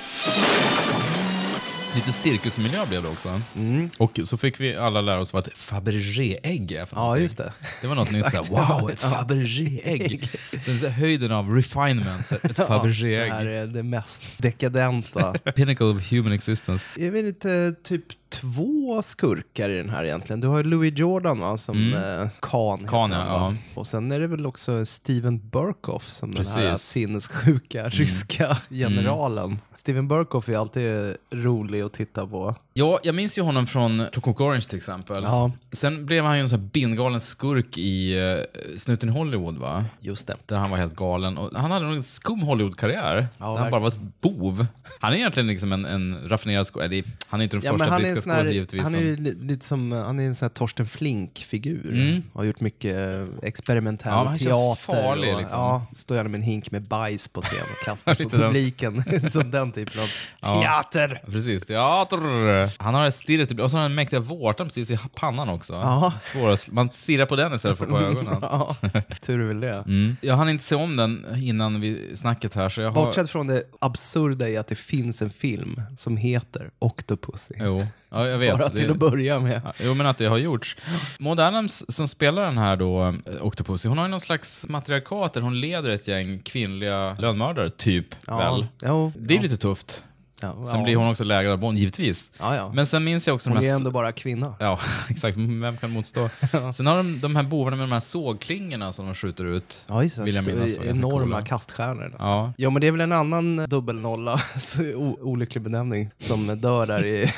B: Lite cirkusmiljö blev det också.
A: Mm.
B: Och så fick vi alla lära oss vad ett Fabergé-ägg är för
A: Ja,
B: någonting.
A: just det.
B: Det var något nytt.
A: Exakt.
B: Såhär, wow, ett Fabergé-ägg. Sen så höjden av refinement, så ett
A: Det här
B: Fabergé-ägg.
A: är det mest dekadenta.
B: Pinnacle of human existence.
A: Det är väl inte typ två skurkar i den här egentligen. Du har ju Louis Jordan va, som eh, Khan. heter
B: Mm.
A: han,
B: Khan, ja,
A: va?
B: ja.
A: Och sen är det väl också Steven Burkoff som den här
B: Precis. Mm.
A: sinnessjuka ryska generalen. Steven Burkoff är alltid rolig att titta på.
B: Ja, jag minns ju honom från Clockwork Orange till exempel.
A: Ja.
B: Sen blev han ju en sån här bindgalen skurk i eh, Snuten i Hollywood, va?
A: Just det.
B: Där han var helt galen. Och han hade nog en skum Hollywood-karriär. där han bara
A: verkligen.
B: var bov. Han är egentligen liksom en, en raffinerad skådespelare. Han är inte den
A: Ja, men
B: första
A: han, är en
B: brittiska
A: sån här,
B: skådespelaren givetvis.
A: han är
B: som- Mm.
A: ju li- lite som, han är en sån här Torsten Flink-figur. Har gjort mycket eh, experimentell
B: Ja, men han känns
A: teater.
B: farlig,
A: och,
B: liksom.
A: ja, står gärna med en hink med bajs på scen och kastar på
B: Lite den-
A: publiken. som den typen av
B: Ja.
A: teater.
B: Precis, teater. Han har stirret och så har han en mäktiga vårtan precis i pannan också.
A: Ja.
B: Svår att sl- man stirrar på den istället för på ögonen.
A: Ja, tur är väl det.
B: Mm. Jag hann inte se om den innan vi snacket här, så jag har...
A: Bortsett från det absurda i att det finns en film som heter Octopussy.
B: Jo, ja, jag vet.
A: Bara
B: Det-
A: till att börja med.
B: Ja, Jo, men att det har gjorts. Maud Adams som spelar den här då, eh, Octopussy, hon har ju någon slags matriarkat där hon leder ett gäng kvinnliga lönnmördare, typ, väl?
A: Jo,
B: Det är
A: ja.
B: lite tufft.
A: Ja,
B: Sen
A: ja.
B: blir hon också lägrad av Bond, givetvis.
A: Ja, ja.
B: Men sen minns jag också
A: Hon
B: de
A: är
B: här...
A: ändå bara kvinna.
B: Ja, exakt. Vem kan motstå? Sen har de de här bovarna med de här sågklingorna som de skjuter ut.
A: Ja, just det.
B: vill jag
A: Sto-
B: minnas. var ganska
A: Enorma
B: coola.
A: kaststjärnor.
B: Ja.
A: Ja, men det är väl en annan dubbelnolla, så o- olycklig benämning, som dör där i,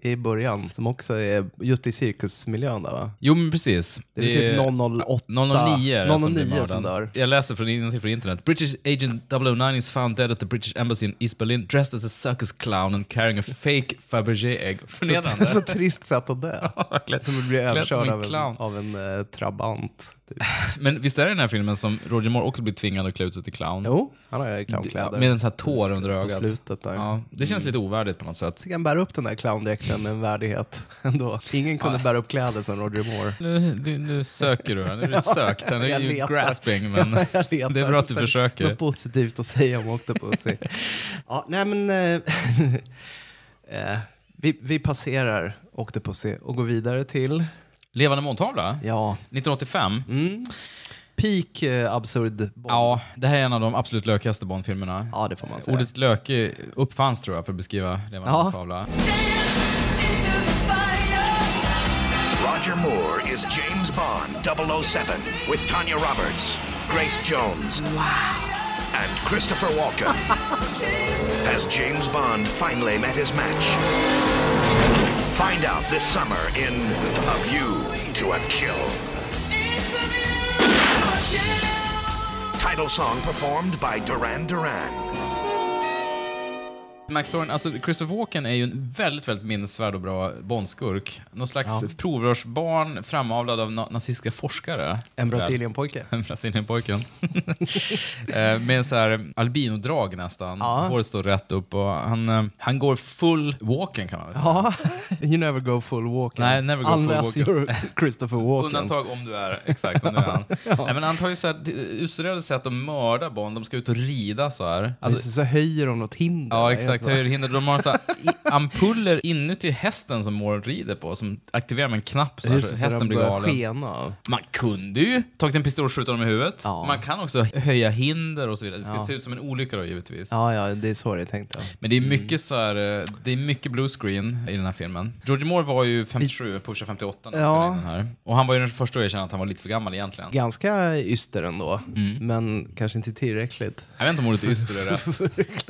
A: i början. Som också är just i cirkusmiljön där va?
B: Jo, men precis.
A: Det är väl typ 008.
B: 009 är det som,
A: 009
B: blir mördad.
A: som dör.
B: Jag läser från, innantill från internet. British agent 009 is found dead at the British embassy in East Berlin dressed as a circus clown and carrying a fake Fabergé-ägg. Förnedrande.
A: Så trist sätt att dö.
B: Klädd-
A: Som att bli
B: klädd som
A: överkörd
B: en
A: av en,
B: clown.
A: av en eh, trabant. Typ.
B: Men visst är det den här filmen som Roger Moore också blir tvingad att klä ut sig till clown?
A: Jo, han har ju
B: Ja,
A: clownkläder.
B: Med en sån här tår under
A: På
B: ögat.
A: slutet där. Mm.
B: Ja, det känns lite ovärdigt på något sätt.
A: Så kan han bära upp den där clowndräkten med en värdighet ändå. Ingen kunde bära upp kläder som Roger Moore.
B: Nu, nu, nu söker du här. Nu är du sökt. här. Nu är
A: Jag
B: ju
A: letar.
B: grasping, men
A: Jag
B: det
A: letar
B: är bra att du
A: efter
B: försöker.
A: Något positivt att säga om Octopussy. ja, nej men... Eh, eh, vi, vi passerar Octopussy och går vidare till...
B: Levande måntavla?
A: Ja, Mm.
B: 1985?
A: peak eh, absurd bomb.
B: Ja, det här är en av de absolut lökigaste Bond-filmerna.
A: Ja, det får man säga.
B: Ordet löke uppfanns tror jag för att beskriva levande
A: Ja.
B: måntavla.
J: Roger Moore is James Bond 007 with Tanya Roberts, Grace Jones, and Christopher Walken. Has James Bond finally met his match? Find out this summer in A View to a Kill. Title song performed by Duran Duran.
B: Max Soren, alltså Christopher Walken är ju en väldigt, väldigt minnesvärd och bra Bondskurk. Någon slags provrörsbarn framavlad av na- nazistiska forskare.
A: En Brasilienpojke.
B: En Brasilienpojken. Eh, Med en så här albinodrag nästan. Håret står rätt upp och han, eh, han går full Walken kan man väl säga.
A: Ja, you never go full walking.
B: Nej, never go full
A: Unless
B: walking.
A: you're Christopher Walken.
B: Undantag om du är, exakt, om du är han. Nej, men han tar ju så här utstuderade sätt att mörda Bond. De ska ut och rida så här. Alltså,
A: Alltså, så höjer de något hinder.
B: Ja,
A: va?
B: exakt.
A: Alltså.
B: Höjerhinder. De har så här i- ampuller inuti hästen som Moore rider på, som aktiverar med en knapp så, här,
A: Just
B: så
A: det,
B: hästen
A: de
B: blir
A: börjar
B: galen.
A: Skena.
B: Man kunde ju tagit en pistol och skjutit honom i huvudet. Man kan också höja hinder och så vidare. Det ska se ut som en olycka då, givetvis.
A: Ja, Mm. ja, det är så det är tänkt. Ja.
B: Men det är mycket så här, eh, det är mycket bluescreen i den här filmen. George Moore var ju 57, pushar 58 när han
A: Ja.
B: spelade in den här. Och han var ju den första att erkänna att han var lite för gammal egentligen.
A: Ganska yster ändå,
B: Mm.
A: men kanske inte tillräckligt.
B: Jag vet inte om ordet yster är rätt.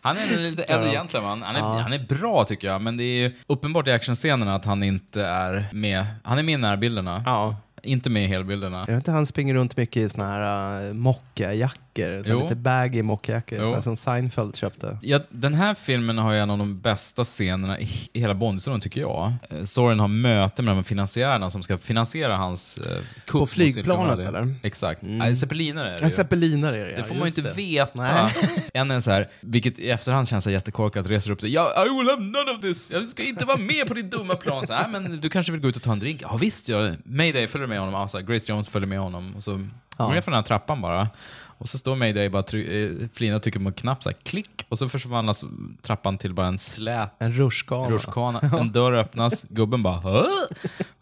B: Han är en lite äldre gentleman. Han är, han är bra tycker jag, men det är ju uppenbart i actionscenerna att han inte är med. Han är med i närbilderna,
A: Ja.
B: inte med i helbilderna.
A: Jag vet inte, han springer runt mycket i såna här uh, mockajackor mockjackor. Så
B: Jo.
A: lite baggy mockjackor.
B: Jo.
A: sådana Som Seinfeld köpte.
B: Ja, den här filmen har ju en av de bästa scenerna i i hela Bondserien, tycker jag. Eh, Soren har möte med de här finansiärerna som ska finansiera hans eh, kupp. mot
A: flygplanet,
B: sin rival.
A: eller?
B: Exakt. Nej, zeppelinare är det
A: En
B: ju.
A: zeppelinare är det, ja,
B: Det får man ju
A: just
B: inte
A: det.
B: veta.
A: Nej.
B: En är så här, vilket i efterhand känns så jättekorkat, reser upp sig. Ja, I will have none of this! Jag ska inte vara med på ditt dumma plan. Så här, "Nej, men du kanske vill gå ut och ta en drink? Ja, visst. Jag, Mayday följer med honom. Alltså, Grace Jones följer med honom. Och så går ner för den här trappan bara. Och så står Mayday bara try- eh, flina och trycker på en knapp, så här, klick. Och så förvandlas trappan till bara en slät
A: En rutschkana.
B: rutschkana. En dörr öppnas, gubben bara "Hö?"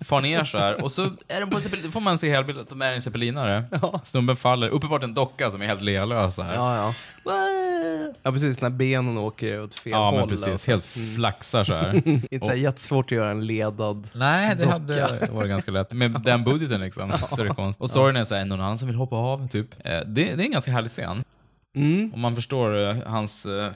B: far ner så här. Och så är den på en zeppelin, får man se hela bilden att de är i en zeppelinare. Snubben faller, uppenbart en docka som är helt lealös så här.
A: Ja, ja. ja, precis. När benen åker åt fel
B: Ja,
A: håll.
B: men precis.
A: alltså.
B: Helt flaxar så här.
A: Inte så här jättesvårt att göra en ledad.
B: Nej, det hade varit ganska lätt. Med den budgeten liksom, så är det konst. Och sorgen är så här, någon annan som vill hoppa av, typ. Eh, Det, det är en ganska härlig scen.
A: Mm.
B: Om man förstår eh, hans eh,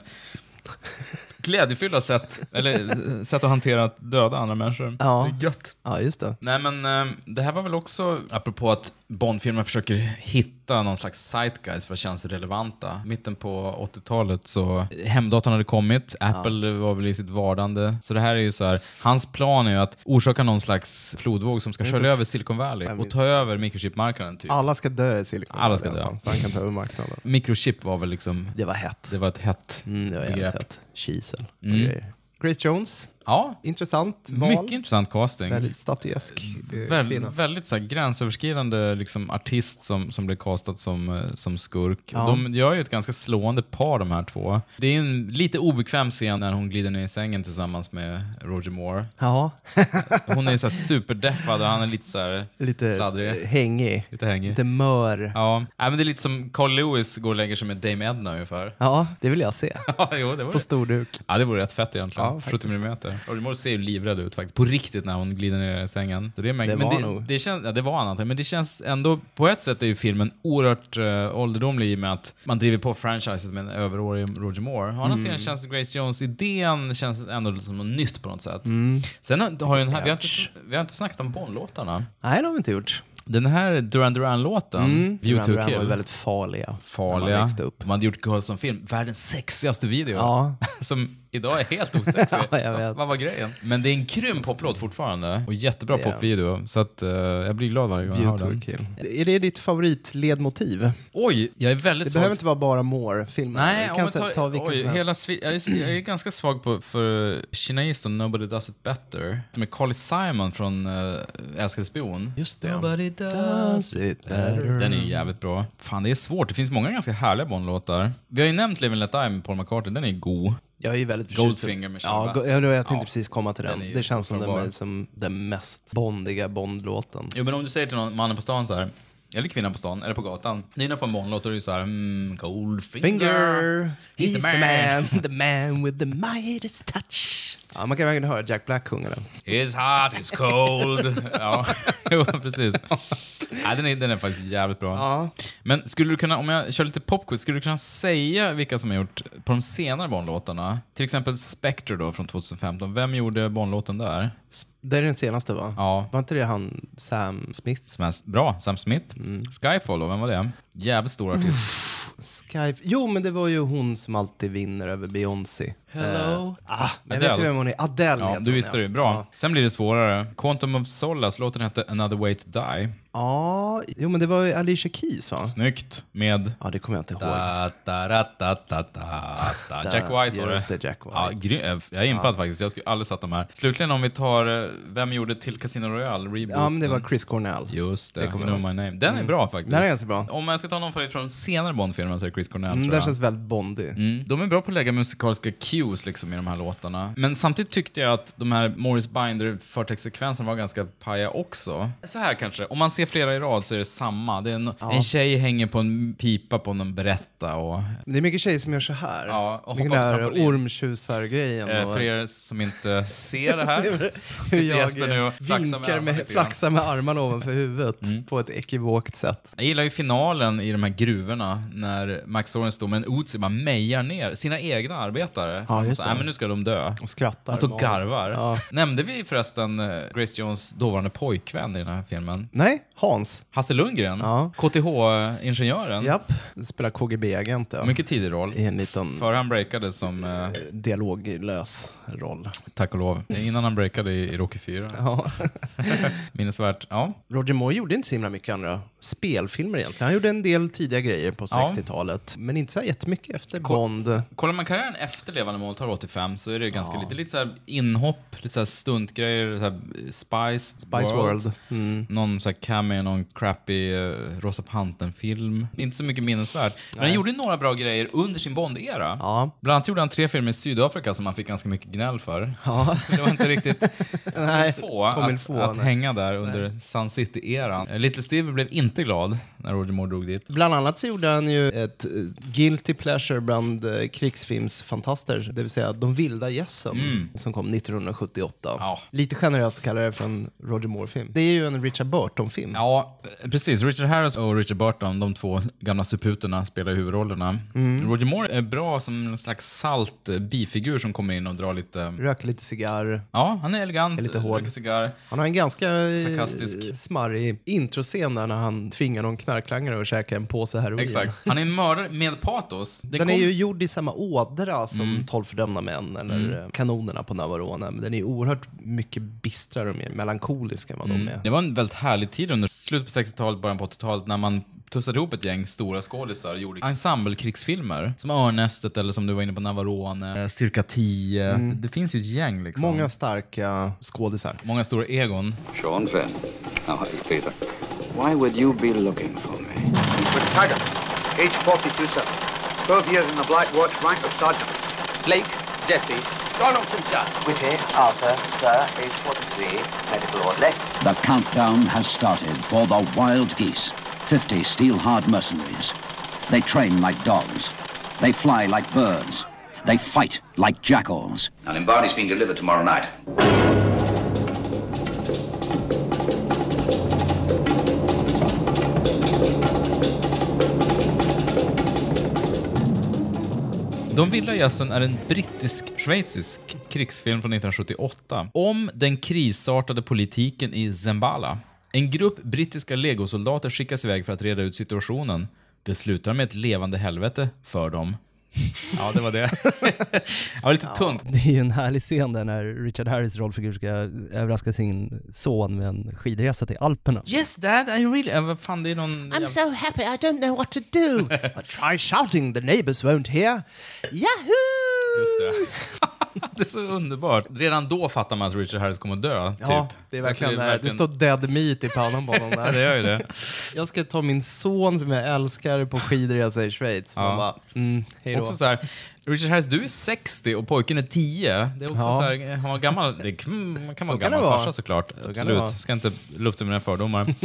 B: glädjefyllda sätt, eller eh, sätt att hantera att döda andra människor.
A: Ja.
B: Det är gött.
A: Ja, just det.
B: Nej, men eh, det här var väl också, apropå att Bondfilmer försöker hitta någon slags zeitgeist för att kännas relevanta. Mitten på 80-talet så, hemdatorn hade kommit, Apple var väl i sitt vardande. Så det här är ju så här, hans plan är ju att orsaka någon slags flodvåg som ska skölja över Silicon Valley och ta över microchipmarknaden typ.
A: Alla ska dö i Silicon
B: Alla ska
A: Valley i alla
B: dö.
A: fall, Så han kan ta över marknaden.
B: Microchip var väl liksom,
A: Det var hett.
B: det var ett hett
A: Mm, det var jävligt
B: begrepp.
A: hett. Kisel och grejer. Grace Jones,
B: Ja,
A: intressant val.
B: mycket intressant casting.
A: Väldigt statyesk eh,
B: Väldigt,
A: kvinna.
B: väldigt så här, gränsöverskridande liksom, artist som, som blir castad som, eh, som skurk. Och de gör ju ett ganska slående par de här två. Det är ju en lite obekväm scen när hon glider ner i sängen tillsammans med Roger Moore.
A: Ja,
B: Hon är så här superdeffad och han är lite så här
A: lite
B: sladdrig.
A: hängig.
B: Lite hängig.
A: Lite mör. Ja.
B: Ja, Nej, men det är lite som Carl Lewis går och lägger sig med Dame Edna ungefär.
A: det vill jag se.
B: Ja, jo, det var
A: På
B: det.
A: storduk.
B: Ja, det vore rätt fett egentligen.
A: Ja,
B: 70 mm. Roger Moore ser ju livrädd ut faktiskt, på riktigt när hon glider ner i sängen. Så det, är märkligt.
A: Det var
B: men det,
A: nog.
B: det, känns, ja, det var han antagligen, men det känns ändå, på ett sätt är ju filmen oerhört uh, ålderdomlig i och med att man driver på franchiset med en överårig Roger Moore. Å andra
A: Mm.
B: sidan känns Grace Jones-idén känns ändå som något nytt på något sätt.
A: Mm.
B: Sen har, har ju den här, vi har, inte, vi har inte snackat om Bond-låtarna.
A: Nej, det har vi inte gjort.
B: Den här Duran Duran-låten, View
A: Mm. Duran
B: to
A: Duran
B: kill,
A: var ju väldigt farliga. När man
B: Mm. farliga.
A: växte upp.
B: De hade gjort Girls on film, världens sexigaste video.
A: Ja.
B: Som idag är helt osexig.
A: Ja, jag vet.
B: Vad var grejen? Men det är en grym poplåt fortfarande och jättebra
A: Ja.
B: popvideo. Så att, eh, jag blir glad varje gång jag hör den.
A: Beauty Kill. Är det ditt favoritledmotiv? Det
B: Oj, jag är väldigt svag.
A: behöver inte vara bara Moore-filmen.
B: Nej,
A: du
B: om
A: kan
B: jag
A: ta,
B: tar,
A: ta vilken
B: oj,
A: som helst.
B: hela svi- jag, är, så- jag är ganska svag på, för China Easton, Nobody Does It Better. Med Carly Simon från uh, Älskade Spion. Just det. Nobody does
A: it better.
B: Den är ju jävligt bra. Fan, det är svårt. Det finns många ganska härliga Bond-låtar. Vi har ju nämnt Live and Let Die med Paul McCartney. Den är ju god.
A: Jag är ju väldigt förtjust i-
B: Goldfinger med Shane
A: ja, go-
B: Bassett.
A: ja, då- jag tänkte
B: Ja.
A: precis komma till den.
B: Den är ju
A: det känns som den,
B: oförglömbar.
A: är som den mest bondiga Bond-låten.
B: Jo, men om du säger till någon, mannen på stan så här, eller kvinnan på stan, eller på gatan, nynna på en Bondlåt, då är det ju så här, mm, Goldfinger.
A: Finger, he's,
B: He's
A: the,
B: the
A: man. the man with the mightiest touch. Ja, man kan verkligen höra Jack Black sjunga den.
B: His heart is cold. ja, jo, precis. Nej, den, är, den är faktiskt jävligt bra. Men skulle du kunna, om jag kör lite popquiz, skulle du kunna säga vilka som har gjort på de senare Bondlåtarna? Till exempel Spectre då från 2015. Vem gjorde Bondlåten där?
A: S- Det är den senaste va?
B: Ja.
A: Var inte det han Sam Smith?
B: Smash, bra, Sam Smith. Skyfall då, vem var det? Jävligt stor artist.
A: Skype? Jo, men det var ju hon som alltid vinner över Beyoncé.
B: Hello.
A: Ah, jag
B: Adele.
A: vet ju vem hon är. Adele
B: Ja,
A: heter
B: du
A: hon,
B: visste
A: ja.
B: det. Bra. Sen blir det svårare. Quantum of Solace, låten hette Another Way to Die.
A: Ja, jo men det var ju Alicia Keys va?
B: Snyggt. Med...
A: Ja, det kommer jag inte ihåg.
B: Da, da, da, da, da, da, da. Jack White var det.
A: Just det, Jack White.
B: Ja, grym. Jag är impad faktiskt. Jag skulle aldrig satt de här. Slutligen om vi tar, eh, vem gjorde till Casino Royale? Reboot.
A: Ja, men det var Chris Cornell. Mm,
B: Just det,
A: Det
B: you
A: kommer
B: know
A: jag
B: my name. Den är bra faktiskt.
A: Den är ganska bra.
B: Om jag ska ta någon favorit från senare Bond-filmen så är det Chris Cornell
A: Mm,
B: tror
A: den
B: jag.
A: känns väldigt bondig.
B: Mm. De är bra på att lägga musikaliska cues liksom, i de här låtarna. Men samtidigt tyckte jag att de här Morris binder förtextsekvenserna var ganska paja också. Så här kanske, om man ser flera i rad så är det samma. Det är en, en tjej hänger på en pipa på någon berätta och...
A: Men Det är mycket tjejer som gör så här.
B: Ja, och
A: Mycket
B: hoppar på
A: den här
B: trampolin.
A: ormtjusar-grejen.
B: Eh,
A: och-
B: för er som inte ser det här, så
A: hur
B: sitter
A: jag
B: Jesper nu och flaxar
A: vinkar
B: med, armarna
A: med,
B: lite grann. Mm.
A: flaxar med armarna ovanför huvudet på ett ekivokt sätt.
B: Jag gillar ju finalen i de här gruvorna när Max Soren står med en Uzi och bara mejar ner sina egna arbetare.
A: Ja,
B: och
A: just
B: så,
A: det.
B: "Nej, men nu ska de dö.
A: Och skrattar.
B: Han står och
A: maniskt.
B: Alltså, garvar.
A: Ja.
B: Nämnde vi förresten eh, Grace Jones dåvarande pojkvän i den här filmen?
A: Nej, Hans.
B: Hasse Lundgren, KTH-ingenjören.
A: Japp, spelar KGB-agent. ja.
B: Mycket tidig roll.
A: I en liten
B: Före han breakade som... Eh,
A: dialoglös roll.
B: tack och lov. Innan han breakade i, i Rocky 4.
A: Ja.
B: Minnesvärt. Ja.
A: Roger Moore gjorde inte så himla mycket andra spelfilmer egentligen. Han gjorde en del tidiga grejer på
B: Ja.
A: 60-talet, men inte så jättemycket efter Bond.
B: Kollar man karriären efter Levande måltavla 85 så är det ganska lite, lite så här inhopp, lite så här stuntgrejer, så här Spice,
A: Spice World. Mm.
B: Någon så här cameo, någon crappy eh, Rosa Pantern-film. Inte så mycket minnesvärt. Men han gjorde ju några bra grejer under sin Bond-era.
A: Ja.
B: Bland annat gjorde han tre filmer i Sydafrika som han fick ganska mycket gnäll för. det var inte riktigt
A: Nej,
B: få
A: kom in
B: att,
A: få,
B: att
A: nej.
B: hänga där under Sun City-eran. Eh, Little Stevie blev inte glad när Roger Moore drog dit.
A: Bland annat så gjorde han ju ett eh, guilty pleasure bland eh, krigsfilmsfantaster, det vill säga De vilda gässen som kom 1978.
B: Mm. Ja.
A: Lite generöst att kalla det för en Roger Moore-film. Det är ju en Richard Burton-film.
B: Ja, eh, precis. Richard Harris och Richard Burton, de två gamla suputerna, spelar huvudrollerna.
A: Mm.
B: Roger Moore är bra som en slags salt eh, bifigur som kommer in och drar lite...
A: Röker lite cigarr.
B: Ja, han är elegant,
A: Är lite hård.
B: röker cigarr.
A: Han har en ganska eh,
B: Sarkastisk.
A: smarrig introscen där när han tvingar någon knarklangare att käka en påse heroin.
B: Exakt. Han är en mördare med patos. Det
A: Den
B: kom- Mm.
A: är ju gjord i samma ådra som 12 fördömda män eller eh, kanonerna på Navarone. Men den är ju oerhört mycket bistrare och mer melankolisk än vad de är.
B: Det var en väldigt härlig tid under slutet på 60-talet, början på 80-talet när man tussade ihop ett gäng stora skådisar och gjorde ensemblekrigsfilmer. Som Örnästet eller som du var inne på, Navarone, eh, Styrka 10. Det, det finns ju ett gäng liksom.
A: Många starka skådisar.
B: Många stora egon.
D: Sean Fenn. Now, hurry, Peter. Why would you be looking for me?
K: With Tiger, age 42, sir. 12 years in the Black Watch, rank of sergeant. Blake, Jesse, Donaldson, sir. Whitty, Arthur, sir, age 43, medical order.
L: The countdown has started for the Wild Geese, 50 steel hard mercenaries. They train like dogs. They fly like birds. They fight like jackals.
M: Now, Lombardi's being delivered tomorrow night.
B: De vilda gässen är en brittisk-schweizisk krigsfilm från 1978 om den krisartade politiken i Zembala. En grupp brittiska legosoldater skickas iväg för att reda ut situationen. Det slutar med ett levande helvete för dem. Ja, det var det. Det var lite tunt.
A: Det är ju en härlig scen där när Richard Harris rollfigur ska överraska sin son med en skidresa till Alperna.
B: Yes, dad, I really... Äh, vad fan, det är någon...
A: I'm so happy I don't know what to do. I try shouting, the neighbors won't hear. Yahoo!
B: Just det. det är så underbart. Redan då fattar man att Richard Harris kommer att dö, typ.
A: Ja, det är verkligen,
B: Alltså,
A: det, det står dead meat i pannan på honom
B: Ja,
A: där.
B: det gör ju det.
A: Jag ska ta min son som jag älskar på skidresa i Schweiz. Man
B: Ja.
A: bara, mm, hej då.
B: Också så här, Richard Harris, du är 60 och pojken är 10. Det är också
A: Ja.
B: så här, han var gammal. Det kan, man kan vara
A: kan
B: gammal
A: det vara.
B: farsa såklart.
A: kan det vara.
B: Absolut. Ska inte lufta mina fördomar.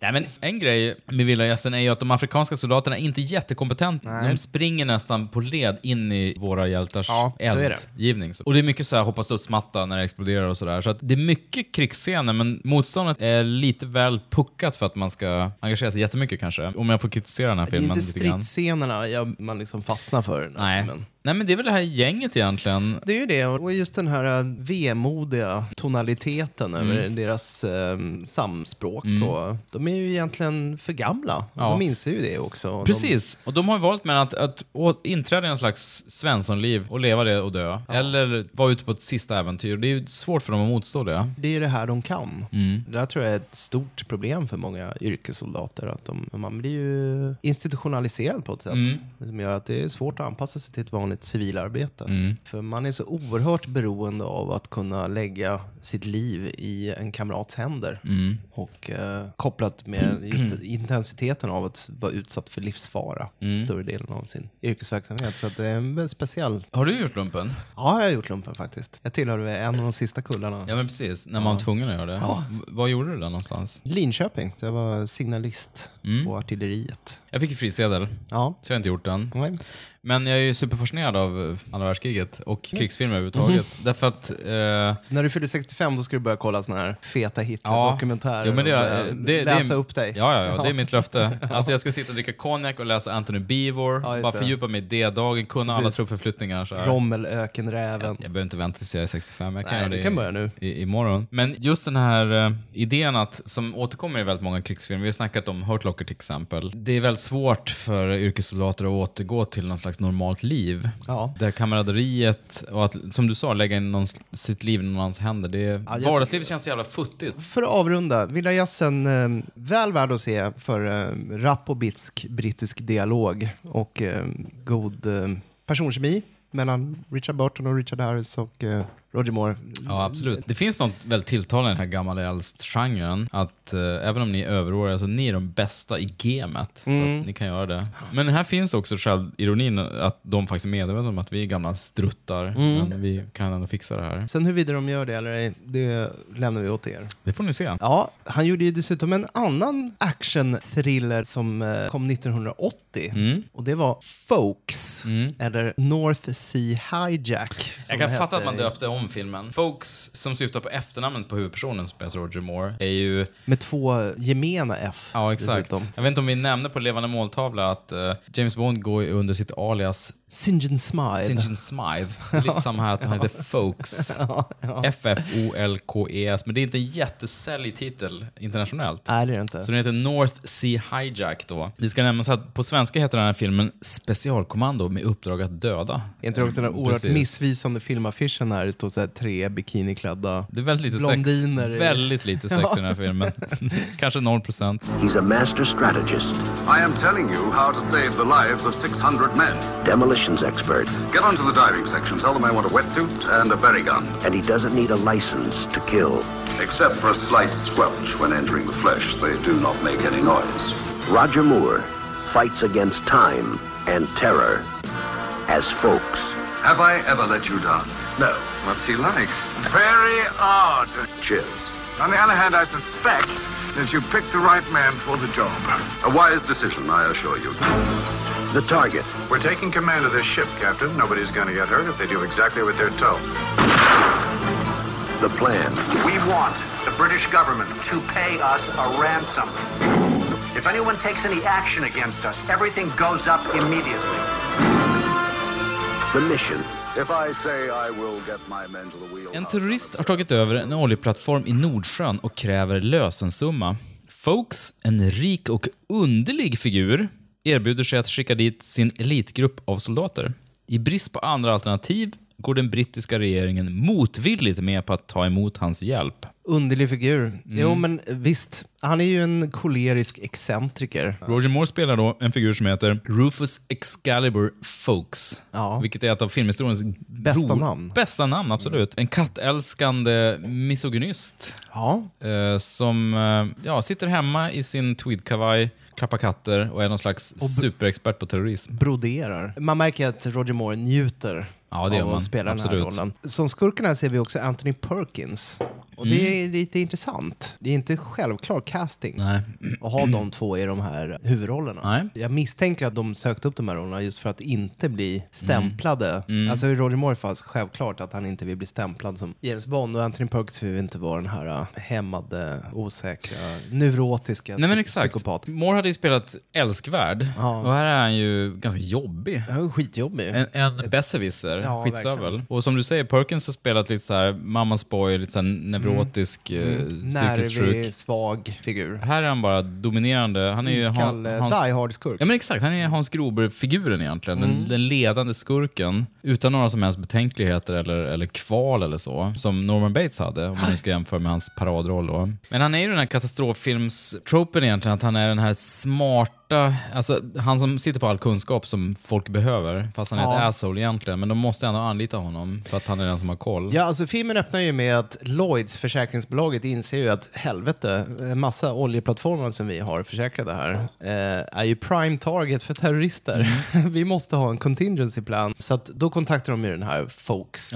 B: Nej, men en grej med vilda gässen är ju att de afrikanska soldaterna är inte jättekompetenta. De springer nästan på led in i våra hjältars
A: Ja, så är det.
B: eldgivning. Och det är mycket så här hoppa studsmatta när det exploderar och sådär. Så att det är mycket krigsscener, men motståndet är lite väl puckat för att man ska engagera sig jättemycket kanske. Om jag får kritisera den här
A: Det är
B: filmen
A: inte
B: lite grann.
A: stridsscenerna jag, man liksom fastnar för.
B: Nej.
A: Men.
B: Nej, men det är väl det här gänget egentligen.
A: Det är ju det, och just den här eh, vemodiga tonaliteten
B: Mm.
A: över deras eh, samspråk. Och, de är ju egentligen för gamla, och
B: Ja.
A: de inser ju det också. Och
B: Precis, och de har ju valt mellan att, att å- inträda i en slags svenssonliv och leva det och dö, eller vara ute på ett sista äventyr. Det är ju svårt för dem att motstå det.
A: De, det är ju det här de kan.
B: Mm.
A: Det där tror jag är ett stort problem för många yrkessoldater. Att de, man blir ju institutionaliserad på ett sätt som gör att det är svårt att anpassa sig till ett vanligt civilarbete. För man är så oerhört beroende av att kunna lägga sitt liv i en kamrats händer. Och eh, kopplat med just intensiteten av att vara utsatt för livsfara större delen av sin yrkesverksamhet. Så att det är en speciell...
B: Har du gjort lumpen?
A: Ja, jag har gjort lumpen faktiskt. Jag tillhörde en av de sista kullarna.
B: Ja, men precis. När man var tvungen att göra det. V- Vad gjorde du där någonstans? Mm.
A: Linköping. Jag var signalist på artilleriet.
B: Jag Jag fick ju frisedel, så jag har inte gjort den. Men jag är ju superfascinerad av eh, andra världskriget och krigsfilmer överhuvudtaget. Därför att... Eh,
A: Så när du fyller 65 då ska du börja kolla såna här feta Hitler-dokumentärer
B: jo, men det,
A: och
B: är-
A: börja
B: det, det,
A: läsa
B: det,
A: upp dig.
B: Ja, ja, ja, det är mitt löfte. Alltså jag ska sitta och dricka konjak och läsa Anthony Beevor,
A: just
B: bara
A: det.
B: fördjupa mig i D-dagen, kunna alla
A: Precis.
B: truppförflyttningar. Så här.
A: Rommelökenräven.
B: Jag behöver inte vänta tills jag är 65. Jag kan
A: Nej,
B: göra
A: du
B: det
A: kan
B: i-
A: börja nu.
B: I, imorgon. Men just den här eh, idén att, som återkommer i väldigt många krigsfilmer, vi har snackat om Hurt Locker till exempel. Det är väldigt svårt för yrkessoldater att återgå till någon slags normalt liv.
A: Ja.
B: Det här kamaraderiet och att, som du sa, lägga in någons, sitt liv i någon annans händer. Det,
A: jag
B: vardagslivet känns så jävla futtigt.
A: För att avrunda, Vilda Jazzen, eh, väl värd att se för eh, rapp och bitsk brittisk dialog och eh, god eh, personkemi mellan Richard Burton och Richard Harris och eh, Roger Moore.
B: Ja, absolut. Det finns något väldigt tilltalande i den här gamla äldst-genren. Att eh, även om ni är överåriga, så ni är de bästa i gamet. Så
A: Mm.
B: att ni kan göra det. Men här finns också självironin att de faktiskt är medvetna om att vi är gamla struttar.
A: Mm.
B: Men vi kan ändå fixa det här.
A: Sen huruvida de gör det eller ej, det lämnar vi åt er.
B: Det får ni se.
A: Ja, han gjorde ju dessutom en annan action-thriller som eh, kom 1980.
B: Mm.
A: Och det var Folks, eller North Sea Hijack. som
B: Jag kan
A: det
B: fatta att man
A: hette.
B: döpte om filmen. Folks, som syftar på efternamnet på huvudpersonen som spelas av Roger Moore, är ju
A: Med två gemena F.
B: Ja, exakt.
A: dessutom.
B: Jag vet inte om vi nämnde på Levande måltavla att eh, James Bond går ju under sitt alias
A: St. John Smythe.
B: St. John Smythe. Det är lite samma här att han heter Folks. F-F-O-L-K-E-S. E Men det är inte en jättesäljig titel internationellt.
A: Nej, det är det inte.
B: Så den heter North Sea Hijack då. Det ska nämnas att på svenska heter den här filmen Specialkommando med uppdrag att döda.
A: Är inte det också den
B: Mm,
A: oerhört
B: precis.
A: missvisande filmaffischen här? Det står så här tre bikiniklädda
B: Det är väldigt lite
A: blondiner.
B: sex.
A: i-
B: Väldigt lite sex i den här filmen. Kanske 0%.
N: He's a master strategist,
O: I am telling you how to save the lives of 600 men.
N: demolitions expert,
O: Get onto the diving section. Tell them I want a wetsuit and a berry gun.
N: and he doesn't need a license to kill.
O: Except for a slight squelch when entering the flesh, they do not make any noise.
N: Roger Moore fights against time and terror as folks.
O: Have I ever let you down? No. What's he like? Very odd. Cheers.
P: On the other hand, I suspect that you picked the right man for the job.
O: A wise decision, I assure you.
N: The target.
P: We're taking command of this ship, Captain. Nobody's going to get hurt if they do exactly what they're told.
N: The plan.
P: We want the British government to pay us a ransom. If anyone takes any action against us, everything goes up immediately.
N: The mission.
O: If I say I will get my men to the wheel.
B: En terrorist har tagit över en oljeplattform i Nordsjön och kräver lösensumma. Folks, en rik och underlig figur, erbjuder sig att skicka dit sin elitgrupp av soldater. I brist på andra alternativ går den brittiska regeringen motvilligt med på att ta emot hans hjälp.
A: Underlig figur. Jo,
B: Mm.
A: men eh, visst. Han är ju en kolerisk excentriker.
B: Roger Moore spelar då en figur som heter Rufus Excalibur Folks. Vilket är ett av filmhistoriens
A: Bästa namn.
B: Bästa namn, absolut. En kattälskande misogynist. Eh, som eh, ja, sitter hemma i sin tweedkavaj, klappar katter och är någon slags superexpert på terrorism.
A: Alltså, Broderar. Man märker att Roger Moore njuter
B: Ja, det gör
A: av
B: man.
A: att spela den
B: Absolut.
A: här rollen. Som skurken här ser vi också Anthony Perkins. Och det
B: Mm.
A: är lite intressant. Det är inte självklar casting att ha de två i de här huvudrollerna. Jag misstänker att de sökte upp de här rollerna just för att inte bli
B: Mm.
A: stämplade. Alltså i Roger Moore fanns självklart att han inte vill bli stämplad som James Bond och Anthony Perkins vill inte vara den här äh, hämmade, osäkra, neurotiska
B: Nej men
A: psy-
B: exakt.
A: psykopaten.
B: Moore hade ju spelat älskvärd och här är han ju ganska jobbig.
A: Ja, skitjobbig.
B: En, en besserwisser,
A: Ja,
B: skitstövel.
A: verkligen.
B: Och som du säger, Perkins har spelat lite så här mammas boy, lite så här neurotisk, eh, psykiskt
A: Mm. Nervig,
B: sjuk.
A: svag figur.
B: Här är han bara dominerande. Han är ju
A: Iskalle,
B: Han- Hans-
A: die hard-skurk.
B: Ja men exakt, han är Hans Grober-figuren egentligen. Den,
A: Mm.
B: den ledande skurken. Utan några som helst betänkligheter eller, eller kval eller så. Som Norman Bates hade, om man nu ska jämföra med hans paradroll då. Men han är ju den här katastroffilms-tropen egentligen, att han är den här smarta, alltså han som sitter på all kunskap som folk behöver. Fast han är
A: Ja.
B: ett asshole egentligen, men de måste ändå anlita honom för att han är den som har koll.
A: Ja, alltså filmen öppnar ju med att Lloyds, försäkringsbolaget, inser ju att helvete, en massa oljeplattformar som vi har försäkrade här eh, är ju prime target för terrorister.
B: Mm.
A: vi måste ha en contingency plan. Så att då kontaktar de ju den här Folks.